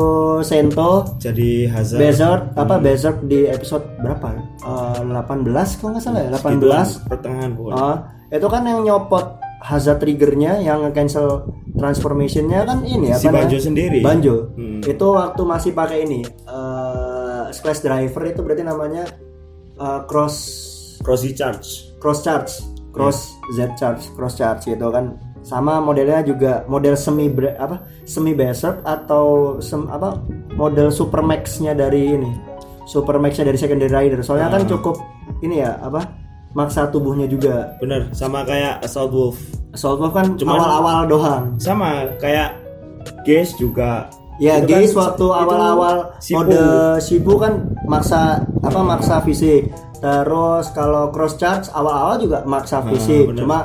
[SPEAKER 3] Sento
[SPEAKER 2] jadi hazard gitu
[SPEAKER 3] Berserk
[SPEAKER 2] hmm.
[SPEAKER 3] apa Berserk di episode berapa? Eh, 18 kalau nggak salah ya 18
[SPEAKER 2] gituan, pertengahan pun
[SPEAKER 3] Ah, itu kan yang nyopot hazard triggernya yang nge-cancel transformationnya kan ini ya
[SPEAKER 2] Si Banjo sendiri.
[SPEAKER 3] Banjo
[SPEAKER 2] Hmm.
[SPEAKER 3] itu waktu masih pakai ini eh splash driver itu berarti namanya eh, cross
[SPEAKER 2] cross recharge
[SPEAKER 3] cross charge cross Z charge cross charge gitu kan sama modelnya juga model semi bre- apa semi berserk atau sem- apa model super max-nya dari ini super max-nya dari secondary rider soalnya kan cukup ini ya apa maksa tubuhnya juga
[SPEAKER 2] bener sama kayak assault wolf
[SPEAKER 3] Assault Wolf kan
[SPEAKER 2] Cuman-
[SPEAKER 3] awal-awal doang.
[SPEAKER 2] sama kayak Gaze juga
[SPEAKER 3] Ya,
[SPEAKER 2] Itu kan
[SPEAKER 3] guys,
[SPEAKER 2] se-
[SPEAKER 3] waktu
[SPEAKER 2] itu
[SPEAKER 3] awal-awal
[SPEAKER 2] Sipu.
[SPEAKER 3] mode Shibu kan maksa apa maksa fisik. Terus kalau cross charge awal-awal juga maksa fisik.
[SPEAKER 2] Ah, bener.
[SPEAKER 3] Cuma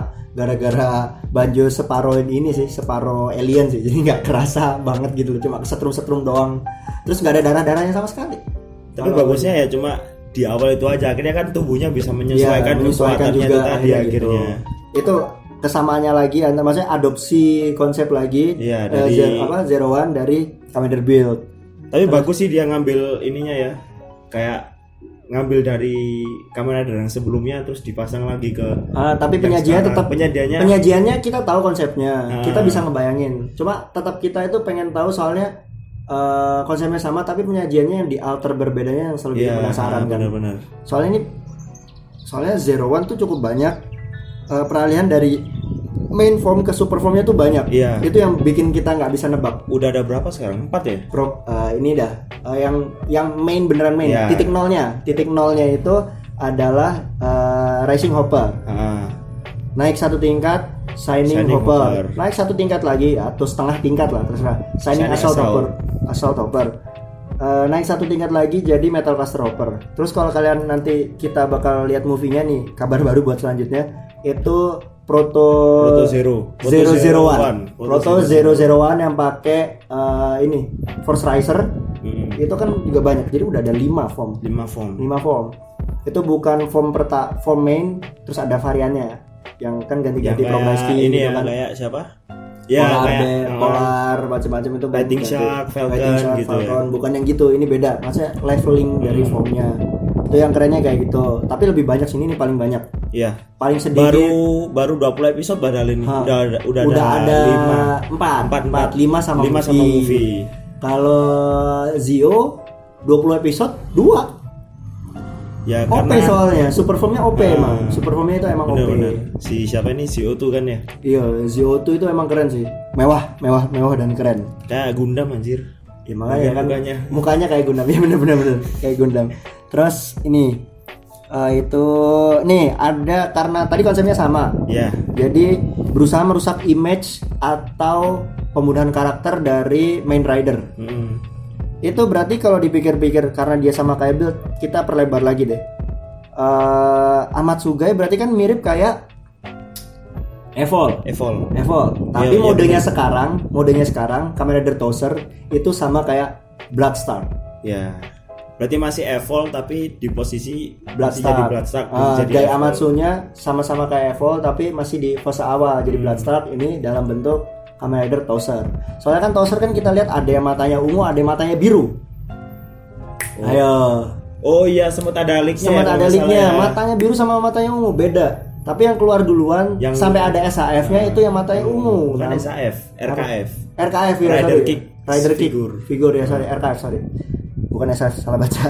[SPEAKER 3] gara-gara Banjo separoin ini sih, separo alien sih. Jadi nggak kerasa banget gitu loh. Cuma setrum-setrum doang. Terus nggak ada darah-darahnya sama sekali.
[SPEAKER 2] tapi
[SPEAKER 3] Kalau-
[SPEAKER 2] bagusnya ya cuma di awal itu aja akhirnya kan tubuhnya bisa
[SPEAKER 3] Iya,
[SPEAKER 2] menyesuaikan kekuatannya itu tadi
[SPEAKER 3] akhirnya gitu.
[SPEAKER 2] akhirnya
[SPEAKER 3] Itu kesamaannya lagi antara maksudnya adopsi konsep lagi eh,
[SPEAKER 2] Iya, dari-
[SPEAKER 3] Zero- apa Zero One dari Commander Build.
[SPEAKER 2] tapi bagus sih dia ngambil ininya ya kayak ngambil dari kamera yang sebelumnya terus dipasang lagi ke
[SPEAKER 3] Ah, tapi
[SPEAKER 2] yang
[SPEAKER 3] penyajiannya
[SPEAKER 2] sekarang.
[SPEAKER 3] tetap
[SPEAKER 2] penyajiannya
[SPEAKER 3] penyajiannya kita tahu konsepnya
[SPEAKER 2] Ah.
[SPEAKER 3] kita bisa ngebayangin cuma tetap kita itu pengen tahu soalnya eh, konsepnya sama tapi penyajiannya yang dialter berbedanya yang selalu bikin
[SPEAKER 2] ya
[SPEAKER 3] penasaran kan
[SPEAKER 2] benar-benar
[SPEAKER 3] soalnya ini soalnya zero one tuh cukup banyak eh, peralihan dari main form ke super formnya tuh banyak
[SPEAKER 2] Iya.
[SPEAKER 3] itu yang bikin kita nggak bisa nebak
[SPEAKER 2] udah ada berapa sekarang empat ya
[SPEAKER 3] Pro, eh, ini dah eh, yang yang main beneran main
[SPEAKER 2] Iya.
[SPEAKER 3] titik nolnya titik nolnya itu adalah eh, racing hopper
[SPEAKER 2] ah
[SPEAKER 3] naik satu tingkat signing,
[SPEAKER 2] Signing
[SPEAKER 3] hopper.
[SPEAKER 2] hopper.
[SPEAKER 3] naik satu tingkat lagi atau setengah tingkat lah terserah signing,
[SPEAKER 2] Signing
[SPEAKER 3] assault,
[SPEAKER 2] assault.
[SPEAKER 3] hopper assault hopper Eh, naik satu tingkat lagi jadi metal caster hopper terus kalau kalian nanti kita bakal lihat movie-nya nih kabar baru buat selanjutnya itu proto
[SPEAKER 2] Proto Zero. Proto
[SPEAKER 3] zero zero
[SPEAKER 2] Zero One.
[SPEAKER 3] one
[SPEAKER 2] Proto
[SPEAKER 3] proto zero zero one yang pakai eh, ini force riser
[SPEAKER 2] Mm-mm.
[SPEAKER 3] itu kan juga banyak jadi udah ada lima form
[SPEAKER 2] Hmm. lima form
[SPEAKER 3] 5 form itu bukan form perta form main terus ada variannya yang kan
[SPEAKER 2] yang
[SPEAKER 3] ganti-ganti
[SPEAKER 2] kayak
[SPEAKER 3] progress key gitu
[SPEAKER 2] ini ya
[SPEAKER 3] kan
[SPEAKER 2] kayak siapa ya
[SPEAKER 3] polar
[SPEAKER 2] kayak
[SPEAKER 3] bear,
[SPEAKER 2] ah,
[SPEAKER 3] polar macam-macam itu
[SPEAKER 2] Lightning
[SPEAKER 3] ganti.
[SPEAKER 2] Shark, Falcon
[SPEAKER 3] Lightning Shark,
[SPEAKER 2] gitu ya. Hmm.
[SPEAKER 3] Falcon. bukan yang gitu ini beda maksudnya leveling dari formnya itu yang kerennya kayak gitu tapi lebih banyak sini ini paling banyak
[SPEAKER 2] ya
[SPEAKER 3] paling sedikit
[SPEAKER 2] baru baru 20 episode padahal ini
[SPEAKER 3] Ha.
[SPEAKER 2] udah ada- udah,
[SPEAKER 3] Udah ada
[SPEAKER 2] lima
[SPEAKER 3] empat,
[SPEAKER 2] empat
[SPEAKER 3] empat, lima sama
[SPEAKER 2] lima sama
[SPEAKER 3] movie.
[SPEAKER 2] movie
[SPEAKER 3] kalau Zio 20 episode 2
[SPEAKER 2] ya
[SPEAKER 3] OP
[SPEAKER 2] karena
[SPEAKER 3] soalnya super formnya OP
[SPEAKER 2] Ah.
[SPEAKER 3] emang super formnya itu emang OP
[SPEAKER 2] bener-bener si siapa ini si Otu kan ya
[SPEAKER 3] Iya, Zio itu itu emang keren sih. Mewah, mewah, mewah dan keren.
[SPEAKER 2] kayak Gundam anjir
[SPEAKER 3] Ya makanya
[SPEAKER 2] Bagian
[SPEAKER 3] kan
[SPEAKER 2] Iya, mukanya.
[SPEAKER 3] mukanya kayak Gundam. Ya bener bener bener kayak Gundam. Terus ini eh, itu nih ada karena tadi konsepnya sama.
[SPEAKER 2] ya
[SPEAKER 3] Jadi berusaha merusak image atau pembunuhan karakter dari main rider.
[SPEAKER 2] Mm-mm.
[SPEAKER 3] Itu berarti kalau dipikir-pikir karena dia sama kayak Build, kita perlebar lagi deh. Eh Amat Sugai berarti kan mirip kayak Evol.
[SPEAKER 2] Evol
[SPEAKER 3] Evol. Tapi
[SPEAKER 2] Iya, iya,
[SPEAKER 3] modelnya
[SPEAKER 2] bener.
[SPEAKER 3] sekarang, modelnya sekarang kamera Rider Toaster itu sama kayak Bloodstar.
[SPEAKER 2] ya berarti masih Evol tapi di posisi masih
[SPEAKER 3] Bloodstar.
[SPEAKER 2] jadi Bloodstar
[SPEAKER 3] Ah,
[SPEAKER 2] jadi
[SPEAKER 3] Guy
[SPEAKER 2] Evol.
[SPEAKER 3] Amatsunya sama-sama kayak Evol tapi masih di fase awal.
[SPEAKER 2] Hmm.
[SPEAKER 3] Jadi Bloodstar ini dalam bentuk kamera Rider Toaster. Soalnya kan Toaster kan kita lihat ada yang matanya ungu, ada yang matanya biru. Ayo.
[SPEAKER 2] oh iya ya. semut ada linknya
[SPEAKER 3] Sempat ada linknya,
[SPEAKER 2] linknya
[SPEAKER 3] matanya biru sama matanya ungu beda. Tapi yang keluar duluan
[SPEAKER 2] Yang- Nah.
[SPEAKER 3] sampai ada SHF-nya itu yang matanya ungu.
[SPEAKER 2] bukan
[SPEAKER 3] Nah,
[SPEAKER 2] SAF RKF
[SPEAKER 3] RKF ya
[SPEAKER 2] Rider
[SPEAKER 3] sorry.
[SPEAKER 2] kick.
[SPEAKER 3] Rider kick
[SPEAKER 2] Figur.
[SPEAKER 3] Figur ya sorry RKF sorry bukan SF salah baca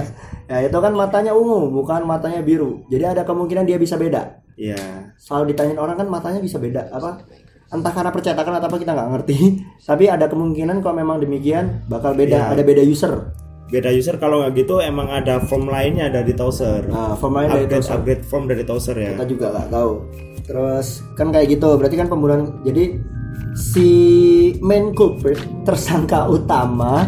[SPEAKER 3] ya itu kan matanya ungu bukan matanya biru jadi ada kemungkinan dia bisa beda
[SPEAKER 2] ya
[SPEAKER 3] selalu ditanyain orang kan matanya bisa beda apa entah karena percetakan atau apa kita nggak ngerti tapi ada kemungkinan kalau memang demikian bakal beda
[SPEAKER 2] Iya.
[SPEAKER 3] ada beda user
[SPEAKER 2] beda user kalau nggak gitu emang ada form lainnya dari Towser
[SPEAKER 3] nah form lain dari Ah.
[SPEAKER 2] upgrade
[SPEAKER 3] Toaster.
[SPEAKER 2] upgrade form dari Towser ya
[SPEAKER 3] kita juga nggak tahu terus kan kayak gitu berarti kan pembunuhan jadi si main culprit tersangka utama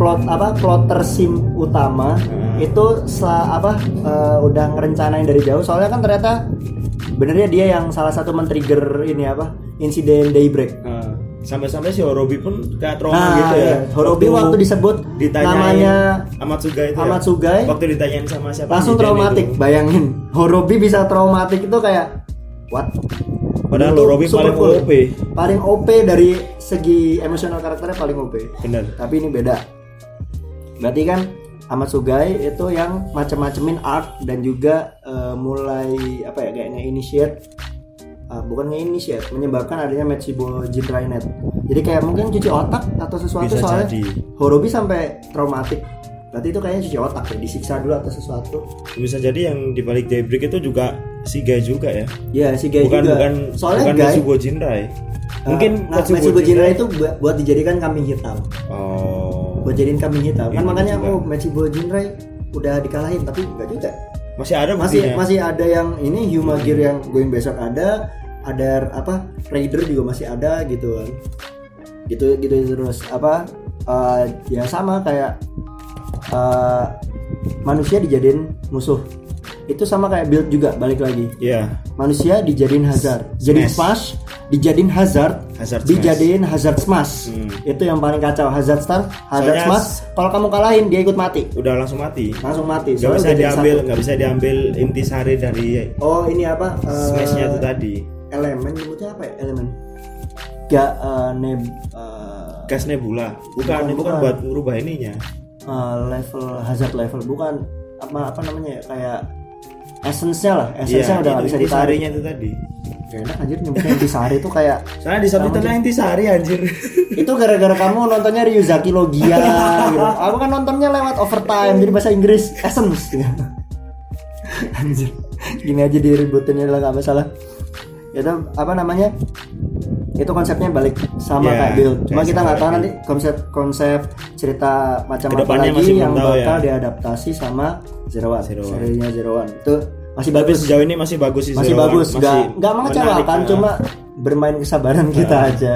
[SPEAKER 3] plot apa plot tersim utama
[SPEAKER 2] Hmm.
[SPEAKER 3] itu setelah apa eh, udah ngerencanain dari jauh soalnya kan ternyata benernya dia yang salah satu men-trigger ini apa insiden daybreak
[SPEAKER 2] Nah, sampai-sampai si Horobi pun kayak trauma
[SPEAKER 3] nah
[SPEAKER 2] gitu ya
[SPEAKER 3] iya. Horobi waktu disebut
[SPEAKER 2] ditanyain
[SPEAKER 3] namanya
[SPEAKER 2] Amatsugai itu ya?
[SPEAKER 3] Amatsugai.
[SPEAKER 2] waktu ditanyain sama siapa
[SPEAKER 3] Eh? langsung
[SPEAKER 2] Jidan
[SPEAKER 3] traumatik
[SPEAKER 2] itu.
[SPEAKER 3] bayangin Horobi bisa traumatik itu kayak what
[SPEAKER 2] padahal
[SPEAKER 3] Itu
[SPEAKER 2] Horobi
[SPEAKER 3] super
[SPEAKER 2] paling
[SPEAKER 3] cool.
[SPEAKER 2] OP
[SPEAKER 3] Paling OP dari segi emosional karakternya paling OP.
[SPEAKER 2] bener
[SPEAKER 3] Tapi ini beda. Berarti kan Amatsugai itu yang macem-macemin art dan juga eh, mulai apa ya kayaknya initiate ah, bukan nge-initiate menyebabkan adanya Matchibo Jinrainet. Jadi kayak mungkin cuci otak atau sesuatu
[SPEAKER 2] Bisa
[SPEAKER 3] soalnya
[SPEAKER 2] jadi.
[SPEAKER 3] Horobi sampai traumatik. Berarti itu kayaknya cuci otak ya, disiksa dulu atau sesuatu.
[SPEAKER 2] bisa jadi yang dibalik Daybreak itu juga si Guy juga ya
[SPEAKER 3] Ya, si Gai
[SPEAKER 2] bukan
[SPEAKER 3] juga.
[SPEAKER 2] bukan
[SPEAKER 3] soalnya eh,
[SPEAKER 2] bukan
[SPEAKER 3] Gai
[SPEAKER 2] Matsubo Jinrai mungkin
[SPEAKER 3] nah,
[SPEAKER 2] Matsubo
[SPEAKER 3] Matsubo Jinrai
[SPEAKER 2] Jinrai-
[SPEAKER 3] itu bu- buat dijadikan kambing hitam.
[SPEAKER 2] oh
[SPEAKER 3] buat jadiin kambing hitam kan
[SPEAKER 2] Iya,
[SPEAKER 3] makanya
[SPEAKER 2] juga.
[SPEAKER 3] oh Matchibo Jinrai udah dikalahin tapi enggak juga
[SPEAKER 2] masih ada ya?
[SPEAKER 3] masih
[SPEAKER 2] buktinya.
[SPEAKER 3] masih ada yang ini Huma Gear yang going besok ada ada apa Raider juga masih ada gitu kan gitu gitu terus apa eh, ya sama kayak eh, manusia dijadiin musuh itu sama kayak build juga balik lagi
[SPEAKER 2] Iya.
[SPEAKER 3] manusia dijadiin hazard jadi
[SPEAKER 2] Smash.
[SPEAKER 3] smash dijadiin hazard,
[SPEAKER 2] Hazard smash.
[SPEAKER 3] dijadiin hazard smash
[SPEAKER 2] Hmm.
[SPEAKER 3] itu yang paling kacau hazard star hazard
[SPEAKER 2] Soalnya
[SPEAKER 3] smash kalau kamu kalahin dia ikut mati
[SPEAKER 2] udah langsung mati
[SPEAKER 3] langsung mati
[SPEAKER 2] nggak bisa
[SPEAKER 3] udah jadi
[SPEAKER 2] diambil
[SPEAKER 3] satu.
[SPEAKER 2] nggak bisa diambil intisari dari
[SPEAKER 3] oh ini apa Eh,
[SPEAKER 2] smashnya itu tadi
[SPEAKER 3] elemen nyebutnya apa ya elemen gak eh, neb eh,
[SPEAKER 2] gas nebula bukan kan
[SPEAKER 3] Bukan,
[SPEAKER 2] bukan,
[SPEAKER 3] bukan.
[SPEAKER 2] buat merubah ininya
[SPEAKER 3] eh, level hazard level bukan apa apa namanya ya kayak essence-nya lah, essence-nya udah nggak bisa ditarik.
[SPEAKER 2] Iya, sarinya itu tadi.
[SPEAKER 3] Gak enak anjir nyebutnya Intisari itu kayak
[SPEAKER 2] Soalnya di subtitle inti sari anjir.
[SPEAKER 3] itu gara-gara kamu nontonnya Ryuzaki Logia gitu. Aku kan nontonnya lewat overtime jadi bahasa Inggris essence gitu. Anjir. Gini aja diributinnya lah nggak masalah. Itu apa namanya? Itu konsepnya balik sama
[SPEAKER 2] Ya,
[SPEAKER 3] kayak Bill. Cuma
[SPEAKER 2] kayak
[SPEAKER 3] kita
[SPEAKER 2] sama
[SPEAKER 3] nggak tahu
[SPEAKER 2] kayak
[SPEAKER 3] nanti konsep konsep cerita macam apa
[SPEAKER 2] Kedepannya
[SPEAKER 3] lagi
[SPEAKER 2] masih belum
[SPEAKER 3] yang
[SPEAKER 2] tahu ya.
[SPEAKER 3] bakal diadaptasi sama Zero One.
[SPEAKER 2] Zero One.
[SPEAKER 3] Serinya Zero One. Itu masih
[SPEAKER 2] Tapi
[SPEAKER 3] bagus
[SPEAKER 2] sejauh ini masih bagus sih.
[SPEAKER 3] masih
[SPEAKER 2] Zero One.
[SPEAKER 3] bagus
[SPEAKER 2] Masih
[SPEAKER 3] nggak nggak mengecewakan
[SPEAKER 2] menarik, ya.
[SPEAKER 3] cuma bermain kesabaran kita aja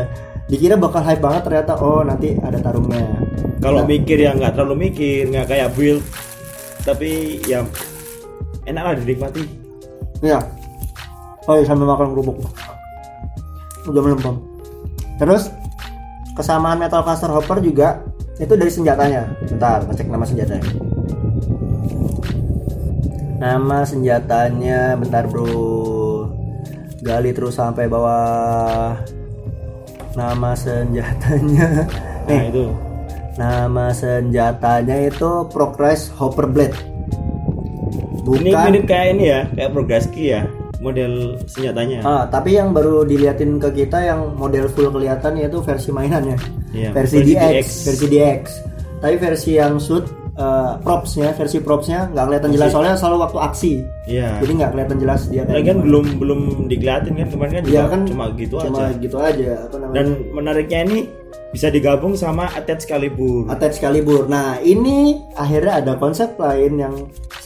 [SPEAKER 3] dikira bakal hype banget ternyata oh nanti ada tarungnya
[SPEAKER 2] kalau mikir ya nggak terlalu mikir, nggak kayak build. Tapi ya enak lah dinikmati.
[SPEAKER 3] ya oh iya, sambil makan kerupuk udah melempem terus kesamaan metal caster hopper juga itu dari senjatanya bentar ngecek nama senjatanya nama senjatanya bentar bro gali terus sampai bawah nama senjatanya
[SPEAKER 2] Nah,
[SPEAKER 3] nih
[SPEAKER 2] itu.
[SPEAKER 3] Nama senjatanya itu Progress Hopper Blade. Bukan.
[SPEAKER 2] Ini mirip kayak ini ya, kayak Progreski ya, model senjatanya.
[SPEAKER 3] Ah, tapi yang baru diliatin ke kita yang model full kelihatan yaitu versi mainannya.
[SPEAKER 2] Iya,
[SPEAKER 3] versi, DX,
[SPEAKER 2] versi DX.
[SPEAKER 3] versi DX. Tapi versi yang shoot eh, propsnya, versi propsnya nggak kelihatan jelas soalnya selalu waktu aksi.
[SPEAKER 2] Iya.
[SPEAKER 3] Jadi nggak kelihatan jelas dia kayak
[SPEAKER 2] Lagian
[SPEAKER 3] gimana.
[SPEAKER 2] belum belum dikeliatin kan kemarin kan juga
[SPEAKER 3] Iya kan
[SPEAKER 2] cuma gitu
[SPEAKER 3] cuma
[SPEAKER 2] aja.
[SPEAKER 3] gitu aja apa namanya?
[SPEAKER 2] Dan menariknya ini bisa digabung sama Attach Calibur.
[SPEAKER 3] Attach Calibur. Nah, ini akhirnya ada konsep lain yang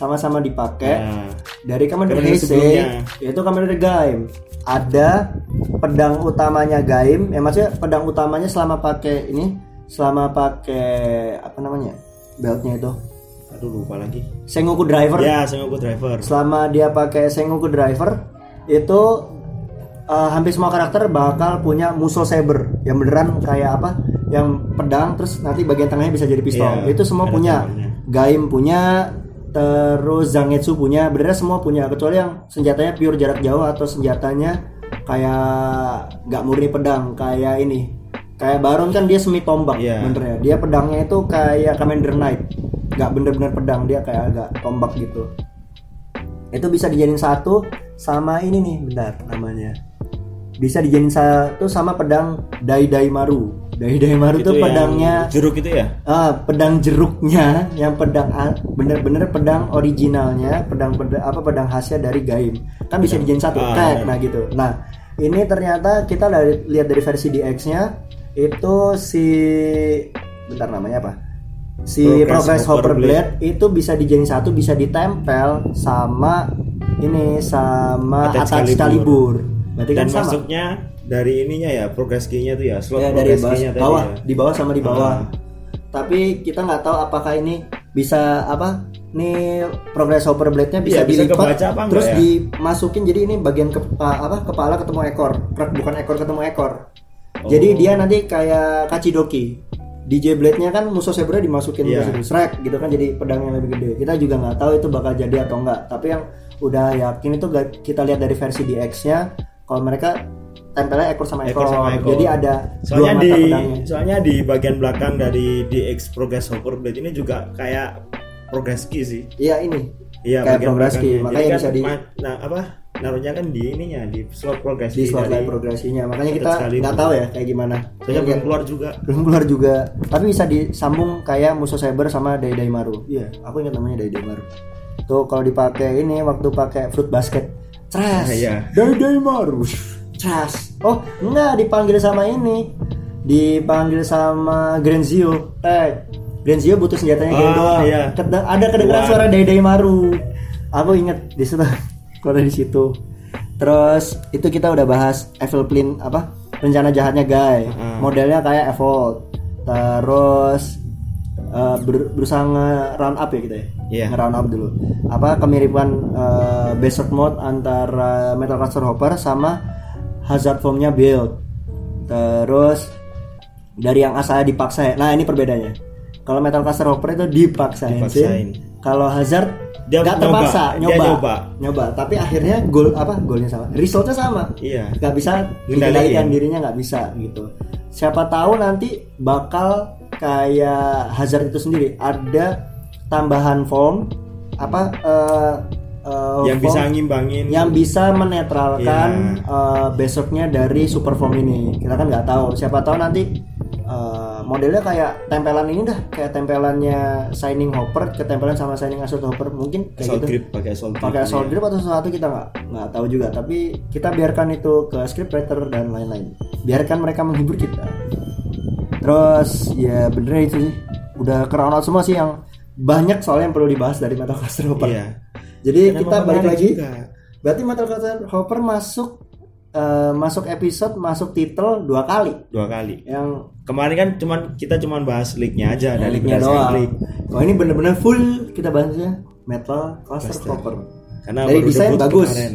[SPEAKER 3] sama-sama dipakai
[SPEAKER 2] Nah,
[SPEAKER 3] dari Kamen
[SPEAKER 2] Kamen
[SPEAKER 3] Rider
[SPEAKER 2] Rider sebelumnya.
[SPEAKER 3] Heisei yaitu Kamen Rider Gaim ada pedang utamanya Gaim eh maksudnya pedang utamanya selama pakai ini selama pakai apa namanya beltnya itu
[SPEAKER 2] aduh lupa lagi.
[SPEAKER 3] Sengoku Driver
[SPEAKER 2] Ya, sama gue driver.
[SPEAKER 3] selama dia pakai Sengoku Driver itu eh, hampir semua karakter bakal punya musuh saber yang beneran kayak apa yang pedang terus nanti bagian tengahnya bisa jadi pistol
[SPEAKER 2] Iya,
[SPEAKER 3] itu semua
[SPEAKER 2] ada
[SPEAKER 3] punya
[SPEAKER 2] towernya.
[SPEAKER 3] Gaim punya terus Zangetsu punya benernya semua punya kecuali yang senjatanya pure jarak jauh atau senjatanya kayak nggak murni pedang kayak ini kayak Baron kan dia semi tombak
[SPEAKER 2] Iya.
[SPEAKER 3] benernya dia pedangnya itu kayak Commander Knight nggak bener-bener pedang dia kayak agak tombak gitu itu bisa dijadiin satu sama ini nih bentar namanya bisa dijadiin satu sama pedang Daidai Maru Daidai Maru
[SPEAKER 2] Itu
[SPEAKER 3] tuh
[SPEAKER 2] yang
[SPEAKER 3] pedangnya
[SPEAKER 2] jeruk itu ya?
[SPEAKER 3] ah, pedang jeruknya yang pedang a- bener-bener pedang originalnya pedang pedang apa pedang khasnya dari Gaim kan bisa dijadiin satu
[SPEAKER 2] Ah,
[SPEAKER 3] kayak
[SPEAKER 2] iya.
[SPEAKER 3] nah gitu nah ini ternyata kita dari, lihat dari versi DX-nya itu si bentar namanya apa si Progress,
[SPEAKER 2] Progress
[SPEAKER 3] Hopper
[SPEAKER 2] Hopper
[SPEAKER 3] Blade, itu bisa dijadiin satu bisa ditempel sama ini sama
[SPEAKER 2] Attach
[SPEAKER 3] attach
[SPEAKER 2] Calibur.
[SPEAKER 3] Calibur berarti
[SPEAKER 2] Dan
[SPEAKER 3] kan sama
[SPEAKER 2] masuknya dari ininya ya, progress key-nya tuh ya, slot
[SPEAKER 3] Ya, dari
[SPEAKER 2] progress
[SPEAKER 3] bawah,
[SPEAKER 2] key-nya tadi
[SPEAKER 3] bawah,
[SPEAKER 2] ya.
[SPEAKER 3] di bawah sama di bawah.
[SPEAKER 2] Ah.
[SPEAKER 3] Tapi kita nggak tahu apakah ini bisa apa? Nih progress hopper blade-nya bisa
[SPEAKER 2] Iya, bisa
[SPEAKER 3] dilipat,
[SPEAKER 2] kebaca apa enggak
[SPEAKER 3] terus
[SPEAKER 2] ya?
[SPEAKER 3] dimasukin jadi ini bagian kepa- apa kepala ketemu ekor, Krek, bukan ekor ketemu ekor. Jadi
[SPEAKER 2] Oh.
[SPEAKER 3] dia nanti kayak kacidoki. DJ blade-nya kan musuh sabre dimasukin
[SPEAKER 2] Iya.
[SPEAKER 3] musuh srek gitu kan jadi pedangnya lebih gede. Kita juga nggak tahu itu bakal jadi atau enggak. Tapi yang udah yakin itu ga- kita lihat dari versi DX-nya kalau mereka tempelnya ekor sama ekor,
[SPEAKER 2] Ekor sama ekor.
[SPEAKER 3] jadi ada
[SPEAKER 2] Soalnya
[SPEAKER 3] dua mata
[SPEAKER 2] di
[SPEAKER 3] pedangnya.
[SPEAKER 2] soalnya di bagian belakang dari DX Progress Hopper Blade ini juga kayak progress key sih.
[SPEAKER 3] Iya ini.
[SPEAKER 2] Iya,
[SPEAKER 3] Kayak
[SPEAKER 2] bagian
[SPEAKER 3] progress key,
[SPEAKER 2] belakangnya.
[SPEAKER 3] makanya
[SPEAKER 2] Jadi kan
[SPEAKER 3] bisa di-
[SPEAKER 2] ma- nah apa? Naruhnya kan di ininya di slot progress
[SPEAKER 3] Di
[SPEAKER 2] key
[SPEAKER 3] slot
[SPEAKER 2] dari-
[SPEAKER 3] lain progresinya. Makanya kita
[SPEAKER 2] Tetap iya, sekali.
[SPEAKER 3] nggak tahu ya kayak gimana.
[SPEAKER 2] Soalnya belum
[SPEAKER 3] Kayak-
[SPEAKER 2] keluar juga.
[SPEAKER 3] belum keluar juga. Tapi bisa disambung kayak musuh cyber sama Daidai Maru. Iya, aku ingat namanya Daidai Maru. Tuh kalau dipakai ini waktu pakai fruit basket. Trash.
[SPEAKER 2] Ah, iya.
[SPEAKER 3] Daidai Maru. Trash. Oh, enggak dipanggil sama ini. Dipanggil sama Grenzio. Eh, Grenzio butuh senjatanya kayak
[SPEAKER 2] Ah,
[SPEAKER 3] doang.
[SPEAKER 2] iya.
[SPEAKER 3] Kede- ada kedengeran
[SPEAKER 2] Keluar.
[SPEAKER 3] suara Daidai Maru. Aku inget di situ. Kalau di situ. Terus itu kita udah bahas Evil Plin apa? Rencana jahatnya guy.
[SPEAKER 2] Hmm.
[SPEAKER 3] Modelnya kayak Evolve. Terus eh, ber- berusaha nge-round up ya kita ya.
[SPEAKER 2] Iya.
[SPEAKER 3] Nge-round up dulu. Apa kemiripan eh, Berserk mode antara Metal Caster Hopper sama Hazard Formnya Build. Terus dari yang asal dipaksa ya. Nah, ini perbedaannya. Kalau Metal Caster Hopper itu dipaksain, Sin.
[SPEAKER 2] Dipaksain.
[SPEAKER 3] Kalau Hazard
[SPEAKER 2] Dia
[SPEAKER 3] nggak
[SPEAKER 2] nyoba.
[SPEAKER 3] terpaksa
[SPEAKER 2] Dia
[SPEAKER 3] nyoba.
[SPEAKER 2] nyoba.
[SPEAKER 3] Nyoba, tapi akhirnya goal apa? Golnya sama. Resultnya sama
[SPEAKER 2] Iya.
[SPEAKER 3] nggak bisa
[SPEAKER 2] Ngendaliin.
[SPEAKER 3] dikendalikan dirinya nggak bisa gitu siapa tahu nanti bakal kayak Hazard itu sendiri ada tambahan form apa eh, eh,
[SPEAKER 2] yang bisa
[SPEAKER 3] form-
[SPEAKER 2] ngimbangin
[SPEAKER 3] yang bisa menetralkan
[SPEAKER 2] Iya.
[SPEAKER 3] eh, besoknya dari superform ini kita kan nggak tahu siapa tahu nanti eh, modelnya kayak tempelan ini dah kayak tempelannya signing hopper ketempelan sama signing assault hopper mungkin kayak
[SPEAKER 2] assault
[SPEAKER 3] gitu
[SPEAKER 2] grip pakai assault grip
[SPEAKER 3] pakai assault
[SPEAKER 2] Iya.
[SPEAKER 3] grip atau sesuatu kita nggak nggak tahu juga tapi kita biarkan itu ke scriptwriter dan lain-lain biarkan mereka menghibur kita terus ya bener itu sih udah keround out semua sih yang banyak soalnya yang perlu dibahas dari Metal Cluster Hopper
[SPEAKER 2] Iya.
[SPEAKER 3] jadi
[SPEAKER 2] Dan
[SPEAKER 3] kita
[SPEAKER 2] emang
[SPEAKER 3] balik
[SPEAKER 2] menarik
[SPEAKER 3] lagi
[SPEAKER 2] juga.
[SPEAKER 3] berarti Metal Cluster Hopper masuk eh, masuk episode masuk titel dua kali
[SPEAKER 2] dua kali
[SPEAKER 3] yang
[SPEAKER 2] kemarin kan cuman kita cuman bahas league-nya aja dari
[SPEAKER 3] liriknya
[SPEAKER 2] berdasarkan
[SPEAKER 3] Oh, doang
[SPEAKER 2] league.
[SPEAKER 3] kalau ini bener-bener full kita bahasnya Metal Cluster
[SPEAKER 2] Cluster.
[SPEAKER 3] Hopper
[SPEAKER 2] karena
[SPEAKER 3] dari
[SPEAKER 2] baru
[SPEAKER 3] desain
[SPEAKER 2] debut
[SPEAKER 3] bagus
[SPEAKER 2] kemarin.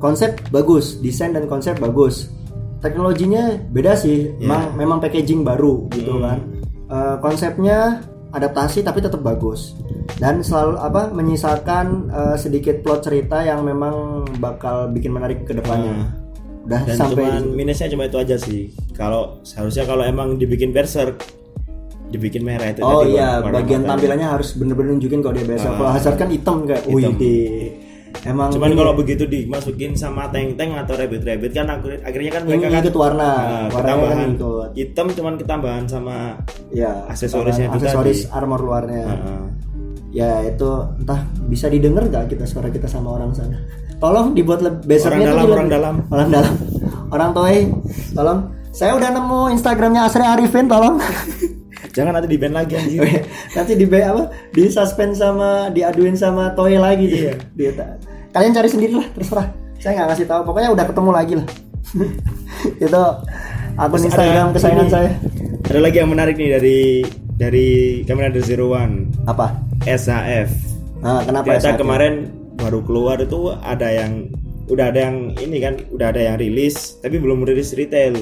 [SPEAKER 3] konsep bagus desain dan konsep bagus teknologinya beda sih
[SPEAKER 2] Iya.
[SPEAKER 3] memang memang packaging baru
[SPEAKER 2] Hmm.
[SPEAKER 3] gitu kan Eh, konsepnya adaptasi tapi tetap bagus dan selalu apa menyisakan eh, sedikit plot cerita yang memang bakal bikin menarik ke depannya udah
[SPEAKER 2] Ah. dan
[SPEAKER 3] sampai
[SPEAKER 2] cuman
[SPEAKER 3] di-
[SPEAKER 2] minusnya cuma itu aja sih kalau seharusnya kalau emang dibikin berserk dibikin merah itu
[SPEAKER 3] oh
[SPEAKER 2] tadi
[SPEAKER 3] iya
[SPEAKER 2] warna- warna
[SPEAKER 3] bagian
[SPEAKER 2] matanya.
[SPEAKER 3] tampilannya harus bener-bener nunjukin kalau dia
[SPEAKER 2] Ah.
[SPEAKER 3] biasa kalau Hazard kan hitam kayak wih di- emang
[SPEAKER 2] cuman
[SPEAKER 3] ini-
[SPEAKER 2] kalau begitu dimasukin sama tank-tank atau rabbit-rabbit kan akhir- akhirnya kan mereka
[SPEAKER 3] ini
[SPEAKER 2] kan
[SPEAKER 3] ikut warna
[SPEAKER 2] Nah,
[SPEAKER 3] warnanya kan
[SPEAKER 2] ketambahan
[SPEAKER 3] ikut
[SPEAKER 2] hitam cuman ketambahan sama
[SPEAKER 3] ya
[SPEAKER 2] Aksesorisnya itu
[SPEAKER 3] aksesoris
[SPEAKER 2] tadi. Ah.
[SPEAKER 3] armor luarnya
[SPEAKER 2] Heeh.
[SPEAKER 3] ya itu entah bisa didengar nggak kita suara kita sama orang sana tolong dibuat leb- besoknya tuh
[SPEAKER 2] Orang dalam, orang dalam.
[SPEAKER 3] orang dalam orang toy tolong saya udah nemu instagramnya Asri Arifin tolong
[SPEAKER 2] jangan nanti di band lagi anjir
[SPEAKER 3] Iya. nanti di apa di suspend sama diaduin sama toy lagi
[SPEAKER 2] Iya.
[SPEAKER 3] tuh. Dia tak- kalian cari sendiri lah terserah saya nggak ngasih tahu pokoknya udah ketemu lagi lah itu akun
[SPEAKER 2] Terus ada
[SPEAKER 3] instagram kesayangan
[SPEAKER 2] ini.
[SPEAKER 3] saya
[SPEAKER 2] ada lagi yang menarik nih dari dari Kamen Rider Zero One
[SPEAKER 3] apa
[SPEAKER 2] SHF
[SPEAKER 3] nah, kenapa
[SPEAKER 2] ternyata
[SPEAKER 3] SHF?
[SPEAKER 2] kemarin baru keluar itu ada yang udah ada yang ini kan udah ada yang rilis tapi belum rilis retail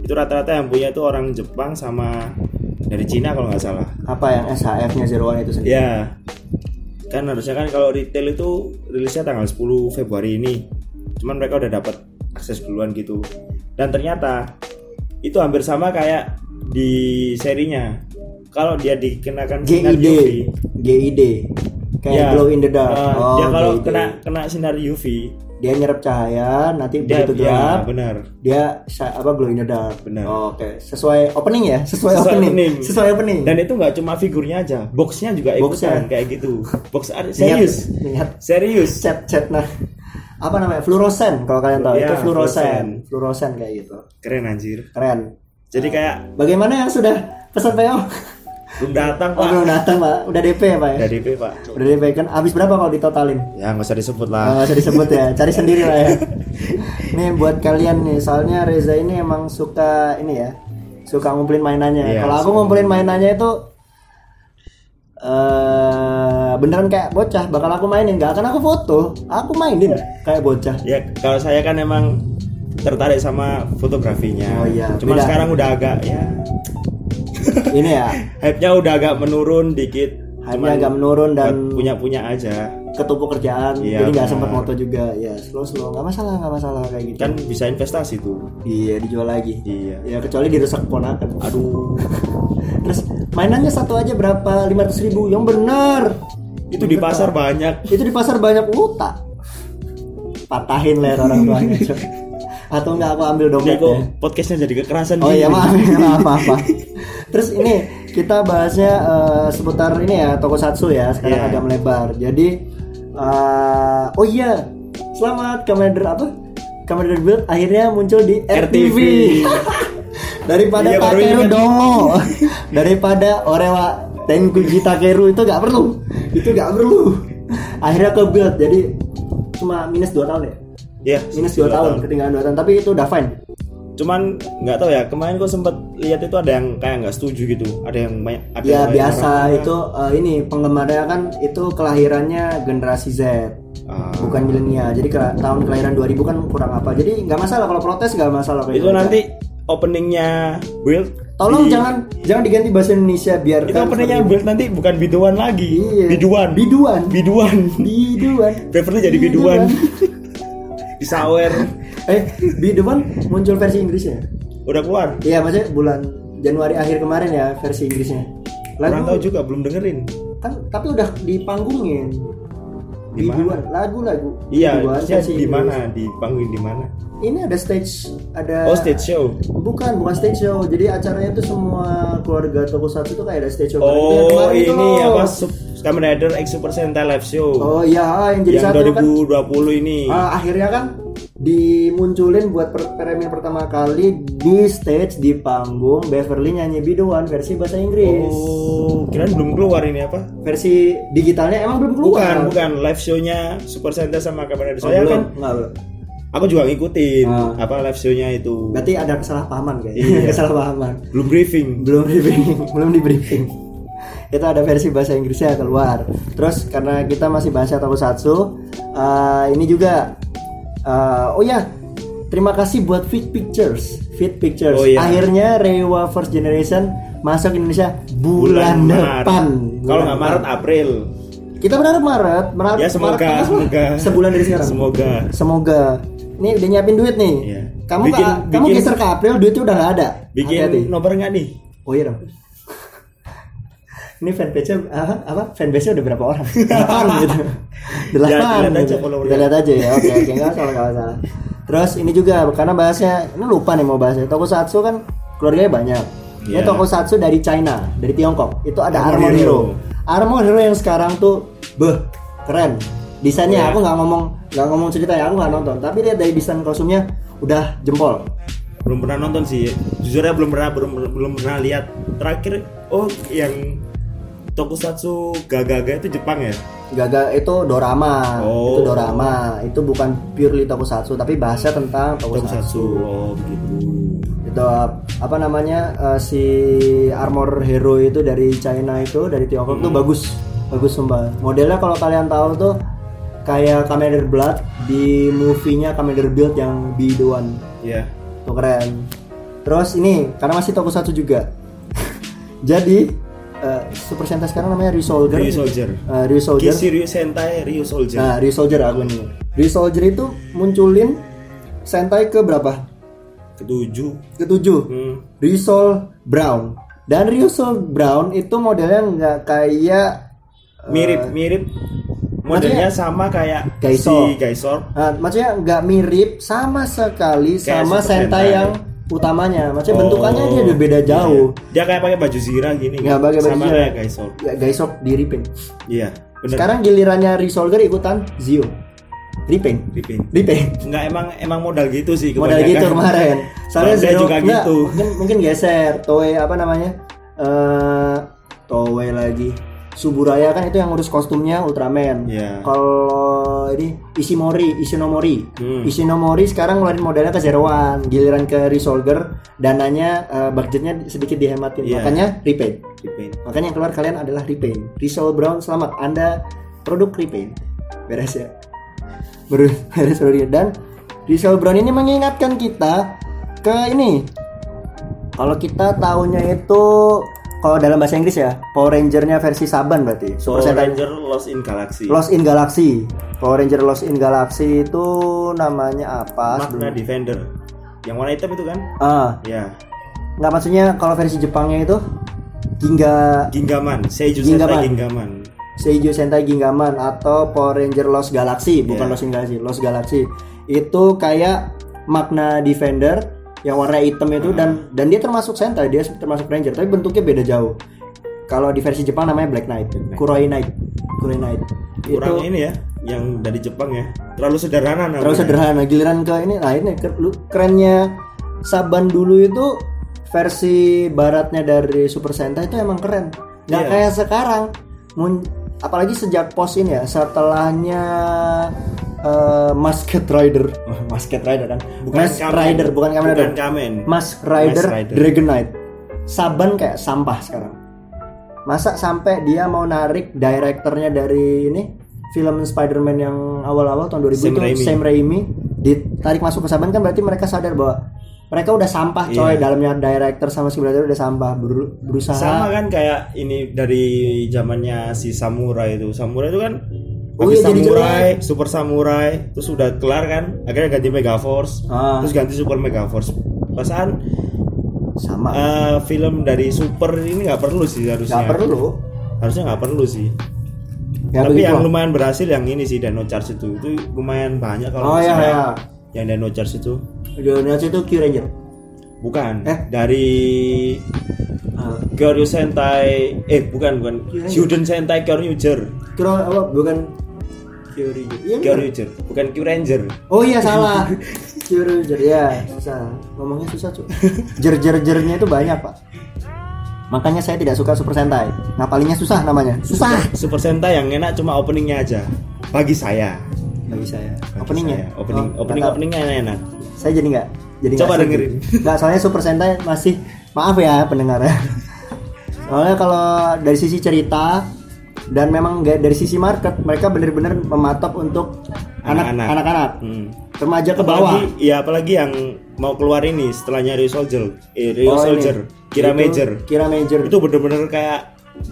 [SPEAKER 2] itu rata-rata yang punya itu orang Jepang sama dari Cina kalau nggak salah
[SPEAKER 3] apa yang SHF-nya Zero One itu sendiri?
[SPEAKER 2] ya kan harusnya kan kalau retail itu rilisnya tanggal 10 Februari ini cuman mereka udah dapat akses duluan gitu dan ternyata itu hampir sama kayak di serinya kalau dia dikenakan sinar
[SPEAKER 3] GID,
[SPEAKER 2] UV,
[SPEAKER 3] GID, kayak
[SPEAKER 2] ya,
[SPEAKER 3] glow in the dark.
[SPEAKER 2] eh,
[SPEAKER 3] oh,
[SPEAKER 2] dia kalau
[SPEAKER 3] GID.
[SPEAKER 2] kena kena sinar UV
[SPEAKER 3] dia nyerap cahaya, nanti
[SPEAKER 2] dia
[SPEAKER 3] begitu
[SPEAKER 2] ya,
[SPEAKER 3] gelap,
[SPEAKER 2] benar
[SPEAKER 3] dia sa- apa glow in the dark.
[SPEAKER 2] Benar.
[SPEAKER 3] Oh, Oke, sesuai opening ya, sesuai,
[SPEAKER 2] Sesuai
[SPEAKER 3] opening.
[SPEAKER 2] opening.
[SPEAKER 3] sesuai opening.
[SPEAKER 2] dan itu nggak cuma figurnya aja boxnya juga
[SPEAKER 3] Boxnya.
[SPEAKER 2] ikutan kayak gitu box art
[SPEAKER 3] Niat-
[SPEAKER 2] serius
[SPEAKER 3] niat
[SPEAKER 2] serius
[SPEAKER 3] chat chat nah apa namanya fluorosen kalau kalian tahu
[SPEAKER 2] Ya,
[SPEAKER 3] itu fluorosen,
[SPEAKER 2] fluorosen.
[SPEAKER 3] fluorosen kayak gitu.
[SPEAKER 2] keren anjir
[SPEAKER 3] Keren.
[SPEAKER 2] jadi kayak
[SPEAKER 3] Bagaimana yang sudah pesan PO?
[SPEAKER 2] belum datang
[SPEAKER 3] Oh,
[SPEAKER 2] pak
[SPEAKER 3] belum datang pak, udah DP ya pak ya?
[SPEAKER 2] dari DP pak
[SPEAKER 3] Udah DP kan, habis berapa kalau ditotalin?
[SPEAKER 2] ya nggak usah disebut
[SPEAKER 3] Ah,
[SPEAKER 2] lah
[SPEAKER 3] nggak usah disebut ya, cari sendiri lah ya. Nih buat kalian nih, soalnya Reza ini emang suka ini ya, suka ngumpulin mainannya.
[SPEAKER 2] Iya,
[SPEAKER 3] Kalau aku
[SPEAKER 2] suka
[SPEAKER 3] ngumpulin mainannya itu eh beneran kayak bocah, bakal aku mainin, nggak akan aku foto, aku mainin kayak bocah.
[SPEAKER 2] ya kalau saya kan emang tertarik sama fotografinya
[SPEAKER 3] Oh, iya.
[SPEAKER 2] cuma
[SPEAKER 3] Beda.
[SPEAKER 2] sekarang udah agak ya
[SPEAKER 3] Ini ya,
[SPEAKER 2] hype nya udah agak menurun dikit
[SPEAKER 3] hanya agak menurun dan
[SPEAKER 2] punya punya aja
[SPEAKER 3] ketumpuk kerjaan,
[SPEAKER 2] Iya,
[SPEAKER 3] jadi nggak
[SPEAKER 2] benar.
[SPEAKER 3] sempat foto juga. Ya slow slow, nggak masalah nggak masalah kayak gitu.
[SPEAKER 2] kan bisa investasi tuh
[SPEAKER 3] Iya dijual lagi.
[SPEAKER 2] Iya.
[SPEAKER 3] Ya kecuali dirusak ponakan. Aduh. Terus mainannya satu aja berapa? 500 ribu. Yang benar.
[SPEAKER 2] itu di pasar banyak
[SPEAKER 3] Itu di pasar banyak utang. Patahin leher orang tuanya. Cok. Atau enggak aku ambil ya.
[SPEAKER 2] ini kok
[SPEAKER 3] dompetnya.
[SPEAKER 2] podcastnya jadi kekerasan gitu?
[SPEAKER 3] Oh
[SPEAKER 2] gini.
[SPEAKER 3] iya maaf maaf maaf. maaf. Terus ini kita bahasnya eh, seputar ini ya Tokusatsu ya sekarang
[SPEAKER 2] Iya.
[SPEAKER 3] agak melebar. Jadi eh, oh iya selamat Commander apa? Commander Build akhirnya muncul di RTV.
[SPEAKER 2] RTV.
[SPEAKER 3] daripada
[SPEAKER 2] Iya, baru
[SPEAKER 3] Takeru
[SPEAKER 2] ingat.
[SPEAKER 3] Dongo daripada Orewa Tenkuji Takeru itu nggak perlu itu nggak perlu akhirnya ke build jadi cuma minus 2 tahun ya
[SPEAKER 2] Iya,
[SPEAKER 3] minus
[SPEAKER 2] dua
[SPEAKER 3] 2 tahun ketinggalan 2 tahun tapi itu udah fine
[SPEAKER 2] cuman nggak tahu ya kemarin gue sempet lihat itu ada yang kayak nggak setuju gitu ada yang banyak ada yang
[SPEAKER 3] Ya
[SPEAKER 2] banyak
[SPEAKER 3] biasa
[SPEAKER 2] orang-
[SPEAKER 3] itu eh, ini penggemarnya kan itu kelahirannya generasi Z
[SPEAKER 2] Ah.
[SPEAKER 3] bukan milenial jadi ke tahun kelahiran 2000 kan kurang apa jadi nggak masalah kalau protes nggak masalah kayak
[SPEAKER 2] itu
[SPEAKER 3] gitu.
[SPEAKER 2] nanti openingnya build
[SPEAKER 3] tolong
[SPEAKER 2] di-
[SPEAKER 3] jangan jangan diganti bahasa Indonesia biar
[SPEAKER 2] itu openingnya build nanti bukan biduan lagi
[SPEAKER 3] Iya.
[SPEAKER 2] biduan
[SPEAKER 3] biduan
[SPEAKER 2] biduan
[SPEAKER 3] biduan
[SPEAKER 2] Beverly jadi biduan disawer
[SPEAKER 3] eh biduan muncul versi Inggrisnya
[SPEAKER 2] udah keluar
[SPEAKER 3] iya maksudnya bulan Januari akhir kemarin ya versi Inggrisnya
[SPEAKER 2] kurang tahu
[SPEAKER 3] lagu
[SPEAKER 2] juga belum dengerin
[SPEAKER 3] kan tapi udah dipanggungin
[SPEAKER 2] Di
[SPEAKER 3] di
[SPEAKER 2] mana?
[SPEAKER 3] luar lagu-lagu
[SPEAKER 2] Iya,
[SPEAKER 3] Di luar
[SPEAKER 2] maksudnya
[SPEAKER 3] versi
[SPEAKER 2] di
[SPEAKER 3] Inggris.
[SPEAKER 2] mana? Di panggung di mana?
[SPEAKER 3] ini ada stage ada
[SPEAKER 2] Oh, stage show.
[SPEAKER 3] bukan bukan stage show jadi acaranya tuh semua keluarga Tokusatsu tuh kayak ada stage show Kayak
[SPEAKER 2] Oh,
[SPEAKER 3] kemarin
[SPEAKER 2] ini
[SPEAKER 3] tuh.
[SPEAKER 2] apa? Sup- Kamen Rider X Super Sentai Live Show.
[SPEAKER 3] oh iya ah, yang jadi
[SPEAKER 2] yang
[SPEAKER 3] satu kan
[SPEAKER 2] 2020 ini.
[SPEAKER 3] ah, akhirnya kan dimunculin buat per premier pertama kali di stage di panggung Beverly nyanyi biduan versi bahasa Inggris
[SPEAKER 2] Oh, kirain belum keluar ini apa?
[SPEAKER 3] versi digitalnya emang belum keluar
[SPEAKER 2] Bukan, bukan live show-nya Super Sentai sama Kamen Rider.
[SPEAKER 3] Oh,
[SPEAKER 2] Saya
[SPEAKER 3] belum.
[SPEAKER 2] kan
[SPEAKER 3] Nggak, belum.
[SPEAKER 2] aku juga ngikutin
[SPEAKER 3] Ah.
[SPEAKER 2] apa live show-nya itu.
[SPEAKER 3] berarti ada kesalahpahaman kayaknya
[SPEAKER 2] Iya.
[SPEAKER 3] kesalahpahaman
[SPEAKER 2] Belum briefing.
[SPEAKER 3] belum di briefing belum di briefing itu ada versi bahasa Inggrisnya keluar terus karena kita masih bahasa tokusatsu eh, ini juga eh, oh ya terima kasih buat Fit Pictures Fit Pictures
[SPEAKER 2] Oh, iya.
[SPEAKER 3] akhirnya Rewa First Generation masuk Indonesia bulan, depan Bulan
[SPEAKER 2] Kalau nggak
[SPEAKER 3] depan.
[SPEAKER 2] Maret April.
[SPEAKER 3] kita berharap Maret Maret
[SPEAKER 2] Ya
[SPEAKER 3] Maret
[SPEAKER 2] semoga
[SPEAKER 3] tengah lah.
[SPEAKER 2] semoga
[SPEAKER 3] sebulan dari sekarang
[SPEAKER 2] Semoga.
[SPEAKER 3] semoga ini udah nyiapin duit nih
[SPEAKER 2] Iya.
[SPEAKER 3] kamu
[SPEAKER 2] Bikin-
[SPEAKER 3] ke, kamu
[SPEAKER 2] bikin-
[SPEAKER 3] geser ke April duitnya udah nggak ada
[SPEAKER 2] Bikin
[SPEAKER 3] Hati-hati.
[SPEAKER 2] nomor nggak nih?
[SPEAKER 3] Oh iya dong. Ini fanpage-nya apa? apa? Fanbase-nya udah berapa orang? 8 gitu. Delapan.
[SPEAKER 2] Ya, dilihat aja
[SPEAKER 3] gitu.
[SPEAKER 2] followernya.
[SPEAKER 3] Kita lihat aja ya. Oke, oke, enggak salah enggak salah. Terus ini juga karena bahasnya ini lupa nih mau bahasnya. Tokusatsu kan keluarganya banyak. Ini
[SPEAKER 2] Iya.
[SPEAKER 3] Tokusatsu dari China, dari Tiongkok. Itu ada
[SPEAKER 2] Armor
[SPEAKER 3] Armor
[SPEAKER 2] Hero.
[SPEAKER 3] Hero. Armor Hero yang sekarang tuh beh, keren. Desainnya
[SPEAKER 2] Iya.
[SPEAKER 3] aku nggak ngomong nggak ngomong cerita ya, aku nggak nonton. Tapi lihat dari desain kostumnya udah jempol.
[SPEAKER 2] Belum pernah nonton sih. Jujurnya belum pernah belum, belum pernah lihat. Terakhir oh yang Tokusatsu Gagaga itu Jepang ya?
[SPEAKER 3] Gaga itu dorama,
[SPEAKER 2] Oh.
[SPEAKER 3] itu dorama, itu bukan purely tokusatsu tapi bahasa tentang
[SPEAKER 2] Tokusatsu.
[SPEAKER 3] tokusatsu.
[SPEAKER 2] Oh, gitu.
[SPEAKER 3] Itu apa namanya eh, si armor hero itu dari China itu dari Tiongkok tuh
[SPEAKER 2] Hmm.
[SPEAKER 3] bagus, bagus sumpah. Modelnya kalau kalian tahu tuh kayak Kamen Rider Blood di movie-nya Kamen Rider Build yang biduan
[SPEAKER 2] Ya.
[SPEAKER 3] tuh keren. Terus ini karena masih tokusatsu juga. Jadi eh, Super Sentai sekarang namanya Resoldier.
[SPEAKER 2] Ryu Soldier.
[SPEAKER 3] Eh, Ryu Soldier.
[SPEAKER 2] Kisi Ryu Sentai Ryu Soldier.
[SPEAKER 3] Nah, Resoldier aku nih. Resoldier itu munculin Sentai ke berapa?
[SPEAKER 2] Ketujuh.
[SPEAKER 3] Ketujuh.
[SPEAKER 2] Hmm.
[SPEAKER 3] Resol Brown. Dan Resol Brown itu modelnya nggak kayak eh,
[SPEAKER 2] Mirip mirip modelnya sama kayak
[SPEAKER 3] Gaisor.
[SPEAKER 2] si Gaisor.
[SPEAKER 3] nah, maksudnya nggak mirip sama sekali
[SPEAKER 2] Kayak
[SPEAKER 3] sama
[SPEAKER 2] Super
[SPEAKER 3] Sentai
[SPEAKER 2] Sentai.
[SPEAKER 3] yang utamanya. Maksudnya
[SPEAKER 2] Oh,
[SPEAKER 3] bentukannya dia udah beda
[SPEAKER 2] iya.
[SPEAKER 3] jauh.
[SPEAKER 2] Dia kayak pakai baju zira gini.
[SPEAKER 3] Nggak pakai baju
[SPEAKER 2] sama
[SPEAKER 3] zira.
[SPEAKER 2] kayak Gaisor.
[SPEAKER 3] Ya, Gaisok di repaint.
[SPEAKER 2] Iya. Bener.
[SPEAKER 3] Sekarang gilirannya Resoldier ikutan Zio. Repaint.
[SPEAKER 2] Repaint.
[SPEAKER 3] Repaint.
[SPEAKER 2] Enggak emang emang modal gitu sih
[SPEAKER 3] modal
[SPEAKER 2] kebanyakan.
[SPEAKER 3] gitu kemarin. Soalnya
[SPEAKER 2] Bangsa
[SPEAKER 3] Zero
[SPEAKER 2] juga
[SPEAKER 3] enggak,
[SPEAKER 2] gitu.
[SPEAKER 3] Mungkin, mungkin geser. Toei apa namanya? Eh Toei lagi. Suburaya kan itu yang ngurus kostumnya Ultraman.
[SPEAKER 2] Iya.
[SPEAKER 3] Kalau ini Ishimori, Ishinomori.
[SPEAKER 2] Hmm.
[SPEAKER 3] Ishinomori sekarang ngeluarin modelnya ke Zero One, giliran ke Resolver, dananya eh, budgetnya sedikit dihematin.
[SPEAKER 2] Iya.
[SPEAKER 3] Makanya repaint.
[SPEAKER 2] Repaint.
[SPEAKER 3] Makanya yang keluar kalian adalah repaint. Risol Brown selamat, Anda produk repaint. Beres ya. Beres, beres produk. dan Risol Brown ini mengingatkan kita ke ini. Kalau kita tahunya itu kalau dalam bahasa Inggris ya, Power Ranger-nya versi Saban berarti.
[SPEAKER 2] Power
[SPEAKER 3] Persetan-
[SPEAKER 2] Ranger Lost in Galaxy.
[SPEAKER 3] Lost in Galaxy. Power Ranger Lost in Galaxy itu namanya apa?
[SPEAKER 2] Magna
[SPEAKER 3] sebelumnya?
[SPEAKER 2] Defender. Yang warna hitam itu kan?
[SPEAKER 3] Ah,
[SPEAKER 2] Ya.
[SPEAKER 3] nggak maksudnya kalau versi Jepangnya itu Ginga
[SPEAKER 2] Ginggaman. Seiju
[SPEAKER 3] Ginggaman.
[SPEAKER 2] Sentai Ginggaman.
[SPEAKER 3] Seiju Sentai Gingaman atau Power Ranger Lost Galaxy, bukan
[SPEAKER 2] Yeah.
[SPEAKER 3] Lost in Galaxy, Lost Galaxy. Itu kayak Magna Defender yang warna hitam itu dan dan dia termasuk Sentai, dia termasuk Ranger, tapi bentuknya beda jauh. Kalau di versi Jepang namanya Black Knight, Kuroi Knight, Kuroi Knight.
[SPEAKER 2] Kurang
[SPEAKER 3] itu
[SPEAKER 2] ini ya yang dari Jepang ya. Terlalu sederhana namanya.
[SPEAKER 3] terlalu sederhana. Giliran ke ini, nah ini ke- lu- kerennya Saban dulu itu versi baratnya dari Super Sentai itu emang keren. Nggak
[SPEAKER 2] Iya.
[SPEAKER 3] kayak sekarang. Mun- apalagi sejak pos ini ya, setelahnya eh, Masked Rider, Masked Rider kan,
[SPEAKER 2] Bukan
[SPEAKER 3] Masked
[SPEAKER 2] Kamen.
[SPEAKER 3] Rider, bukan Kamen Rider,
[SPEAKER 2] Bukan Kamen.
[SPEAKER 3] Masked Rider,
[SPEAKER 2] Masked Rider.
[SPEAKER 3] Dragon Knight. Saban kayak sampah sekarang. Masa sampai dia mau narik direkturnya dari ini film Spider-Man yang awal-awal tahun 2000
[SPEAKER 2] Sam
[SPEAKER 3] itu
[SPEAKER 2] Raimi.
[SPEAKER 3] Sam Raimi ditarik masuk ke Saban kan berarti mereka sadar bahwa mereka udah sampah coy
[SPEAKER 2] Iya.
[SPEAKER 3] dalamnya director sama script writer udah sampah Ber- berusaha
[SPEAKER 2] Sama kan kayak ini dari zamannya si samurai itu. Samurai itu kan
[SPEAKER 3] Oh
[SPEAKER 2] habis
[SPEAKER 3] iya, jadi
[SPEAKER 2] samurai, super samurai, terus udah kelar kan, akhirnya ganti Mega Force,
[SPEAKER 3] Ah.
[SPEAKER 2] terus ganti super Mega Force. Pasan
[SPEAKER 3] sama
[SPEAKER 2] eh, film dari super ini nggak perlu sih harusnya.
[SPEAKER 3] nggak perlu
[SPEAKER 2] Harusnya nggak perlu sih.
[SPEAKER 3] Ya,
[SPEAKER 2] tapi
[SPEAKER 3] begitu
[SPEAKER 2] yang
[SPEAKER 3] lah.
[SPEAKER 2] lumayan berhasil yang ini sih Dano Charge itu itu lumayan banyak kalau
[SPEAKER 3] Oh,
[SPEAKER 2] nggak
[SPEAKER 3] iya,
[SPEAKER 2] salah.
[SPEAKER 3] iya.
[SPEAKER 2] yang Dano Charge itu
[SPEAKER 3] Donald itu Q Ranger.
[SPEAKER 2] bukan
[SPEAKER 3] Eh?
[SPEAKER 2] dari Kyoryu Sentai eh bukan bukan
[SPEAKER 3] Kyoryu.
[SPEAKER 2] Juden Sentai Kyoryuger
[SPEAKER 3] Kira apa? Bukan Q Ranger. Iya, bener.
[SPEAKER 2] Kyoryuger bukan Kyuranger
[SPEAKER 3] Oh iya salah. Q Ranger ya susah. Ngomongnya susah cuy. Jer jer jernya itu banyak pak. Makanya saya tidak suka Super Sentai. Ngapalinnya susah namanya. Susah.
[SPEAKER 2] Super Sentai yang enak cuma openingnya aja bagi saya
[SPEAKER 3] Bagi saya.
[SPEAKER 2] Bagi
[SPEAKER 3] Openingnya.
[SPEAKER 2] saya. opening
[SPEAKER 3] Oh, nggak
[SPEAKER 2] opening
[SPEAKER 3] tahu.
[SPEAKER 2] openingnya enak
[SPEAKER 3] Saya jadi nggak. Jadi
[SPEAKER 2] Coba
[SPEAKER 3] nggak setuju.
[SPEAKER 2] dengerin.
[SPEAKER 3] Nggak soalnya Super Sentai masih maaf ya pendengar ya. Soalnya kalau dari sisi cerita dan memang nggak dari sisi market mereka benar-benar mematok untuk anak-
[SPEAKER 2] Anak-anak.
[SPEAKER 3] anak-anak
[SPEAKER 2] Hmm.
[SPEAKER 3] remaja ke bawah.
[SPEAKER 2] apalagi ya apalagi yang mau keluar ini setelahnya Rio Soldier eh, Rio
[SPEAKER 3] Oh, ini.
[SPEAKER 2] Soldier Kira
[SPEAKER 3] Itu
[SPEAKER 2] Major
[SPEAKER 3] Kira Major.
[SPEAKER 2] itu bener-bener kayak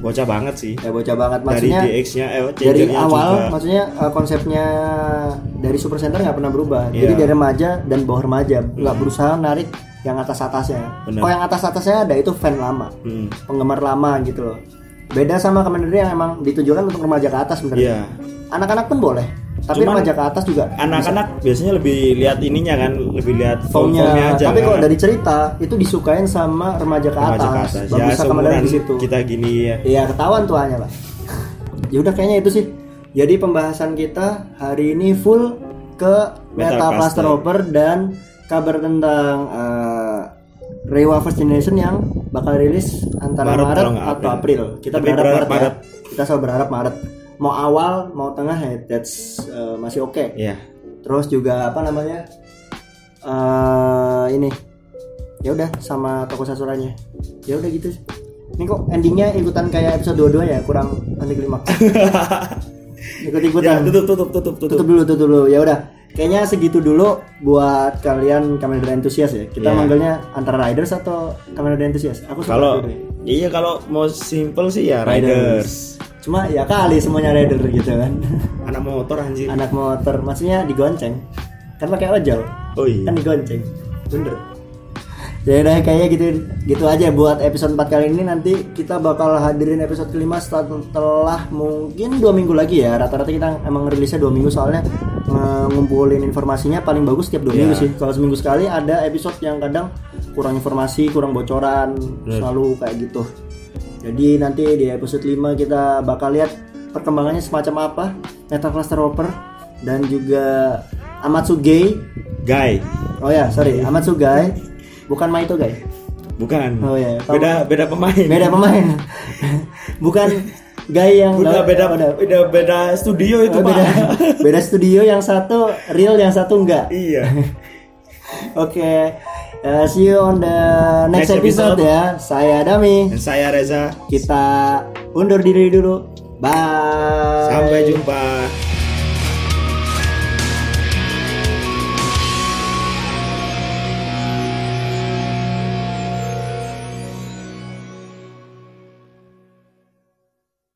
[SPEAKER 2] bocah banget sih
[SPEAKER 3] ya bocah banget maksudnya
[SPEAKER 2] dari DX nya eh,
[SPEAKER 3] dari
[SPEAKER 2] changernya
[SPEAKER 3] awal
[SPEAKER 2] juga.
[SPEAKER 3] maksudnya uh, konsepnya dari super center nggak pernah berubah
[SPEAKER 2] Iya. Hmm.
[SPEAKER 3] jadi dari remaja dan bawah remaja nggak berusaha narik yang atas atasnya
[SPEAKER 2] Benar.
[SPEAKER 3] kalau yang atas atasnya ada itu fan lama
[SPEAKER 2] Hmm.
[SPEAKER 3] penggemar lama gitu loh beda sama Kamen Rider yang emang ditujukan untuk remaja ke atas
[SPEAKER 2] Iya.
[SPEAKER 3] sebenarnya anak-anak pun boleh tapi
[SPEAKER 2] Cuman
[SPEAKER 3] remaja ke atas juga
[SPEAKER 2] anak-anak biasanya lebih lihat ininya kan lebih lihat
[SPEAKER 3] formnya
[SPEAKER 2] form-formnya aja
[SPEAKER 3] tapi kalau
[SPEAKER 2] kan.
[SPEAKER 3] dari cerita itu disukain sama remaja ke
[SPEAKER 2] Remaja ke
[SPEAKER 3] atas,
[SPEAKER 2] atas. ya
[SPEAKER 3] bagusnya Kamen
[SPEAKER 2] seumuran
[SPEAKER 3] Rider di situ
[SPEAKER 2] kita gini ya
[SPEAKER 3] Iya ketahuan tuanya pak. ya udah kayaknya itu sih. Jadi pembahasan kita hari ini full ke
[SPEAKER 2] Metal
[SPEAKER 3] Metal
[SPEAKER 2] Cluster.
[SPEAKER 3] Cluster Hopper dan kabar tentang eh, Rewa First Generation yang bakal rilis antara
[SPEAKER 2] Maret
[SPEAKER 3] Maret,
[SPEAKER 2] kalau nggak
[SPEAKER 3] atau
[SPEAKER 2] April.
[SPEAKER 3] April. Kita
[SPEAKER 2] Tapi
[SPEAKER 3] berharap,
[SPEAKER 2] berharap
[SPEAKER 3] Maret, ya. Kita selalu berharap Maret. Mau awal mau tengah ya that's eh, masih oke.
[SPEAKER 2] Iya.
[SPEAKER 3] Terus juga apa namanya? eh ini. Ya udah sama toko sasuranya. Ya udah gitu. sih. Ini kok endingnya ikutan kayak episode 22 ya, kurang anti klimaks.
[SPEAKER 2] ya
[SPEAKER 3] Ikut-ikutan.
[SPEAKER 2] tutup tutup tutup Ya. tutup,
[SPEAKER 3] tutup dulu, tutup dulu. Ya udah. Kayaknya segitu dulu buat kalian Kamen Rider Enthusiast ya. Kita
[SPEAKER 2] Iya.
[SPEAKER 3] manggilnya antara Riders atau Kamen Rider Enthusiast. Aku suka
[SPEAKER 2] kalau
[SPEAKER 3] dua-duanya.
[SPEAKER 2] iya kalau mau simple sih ya riders
[SPEAKER 3] Riders. Cuma ya kali semuanya Rider gitu kan.
[SPEAKER 2] anak motor anjir
[SPEAKER 3] Anak motor maksudnya digonceng. Kan pakai ojol.
[SPEAKER 2] oh iya
[SPEAKER 3] kan digonceng bener ya udah kayaknya gitu gitu aja buat episode 4 kali ini nanti kita bakal hadirin episode kelima setelah, setelah mungkin dua minggu lagi ya rata-rata kita emang rilisnya dua minggu soalnya eh, ngumpulin informasinya paling bagus setiap dua
[SPEAKER 2] Iya.
[SPEAKER 3] minggu sih kalau seminggu sekali ada episode yang kadang kurang informasi kurang bocoran selalu kayak gitu jadi nanti di episode 5 kita bakal lihat perkembangannya semacam apa Metal Cluster Hopper dan juga Amatsuge
[SPEAKER 2] guy
[SPEAKER 3] Oh ya, sorry, Ahmad Sugai, bukan Maito Guy.
[SPEAKER 2] bukan
[SPEAKER 3] Oh iya, kamu-
[SPEAKER 2] beda beda pemain
[SPEAKER 3] Beda pemain. bukan Guy yang
[SPEAKER 2] beda beda
[SPEAKER 3] udah,
[SPEAKER 2] beda beda studio
[SPEAKER 3] Oh,
[SPEAKER 2] itu
[SPEAKER 3] beda,
[SPEAKER 2] pak
[SPEAKER 3] beda studio yang satu real yang satu enggak.
[SPEAKER 2] iya
[SPEAKER 3] Oke. eh, see you on the next,
[SPEAKER 2] Next
[SPEAKER 3] episode,
[SPEAKER 2] episode.
[SPEAKER 3] ya. Saya Dami.
[SPEAKER 2] dan saya Reza
[SPEAKER 3] Kita undur diri dulu. Bye.
[SPEAKER 2] sampai jumpa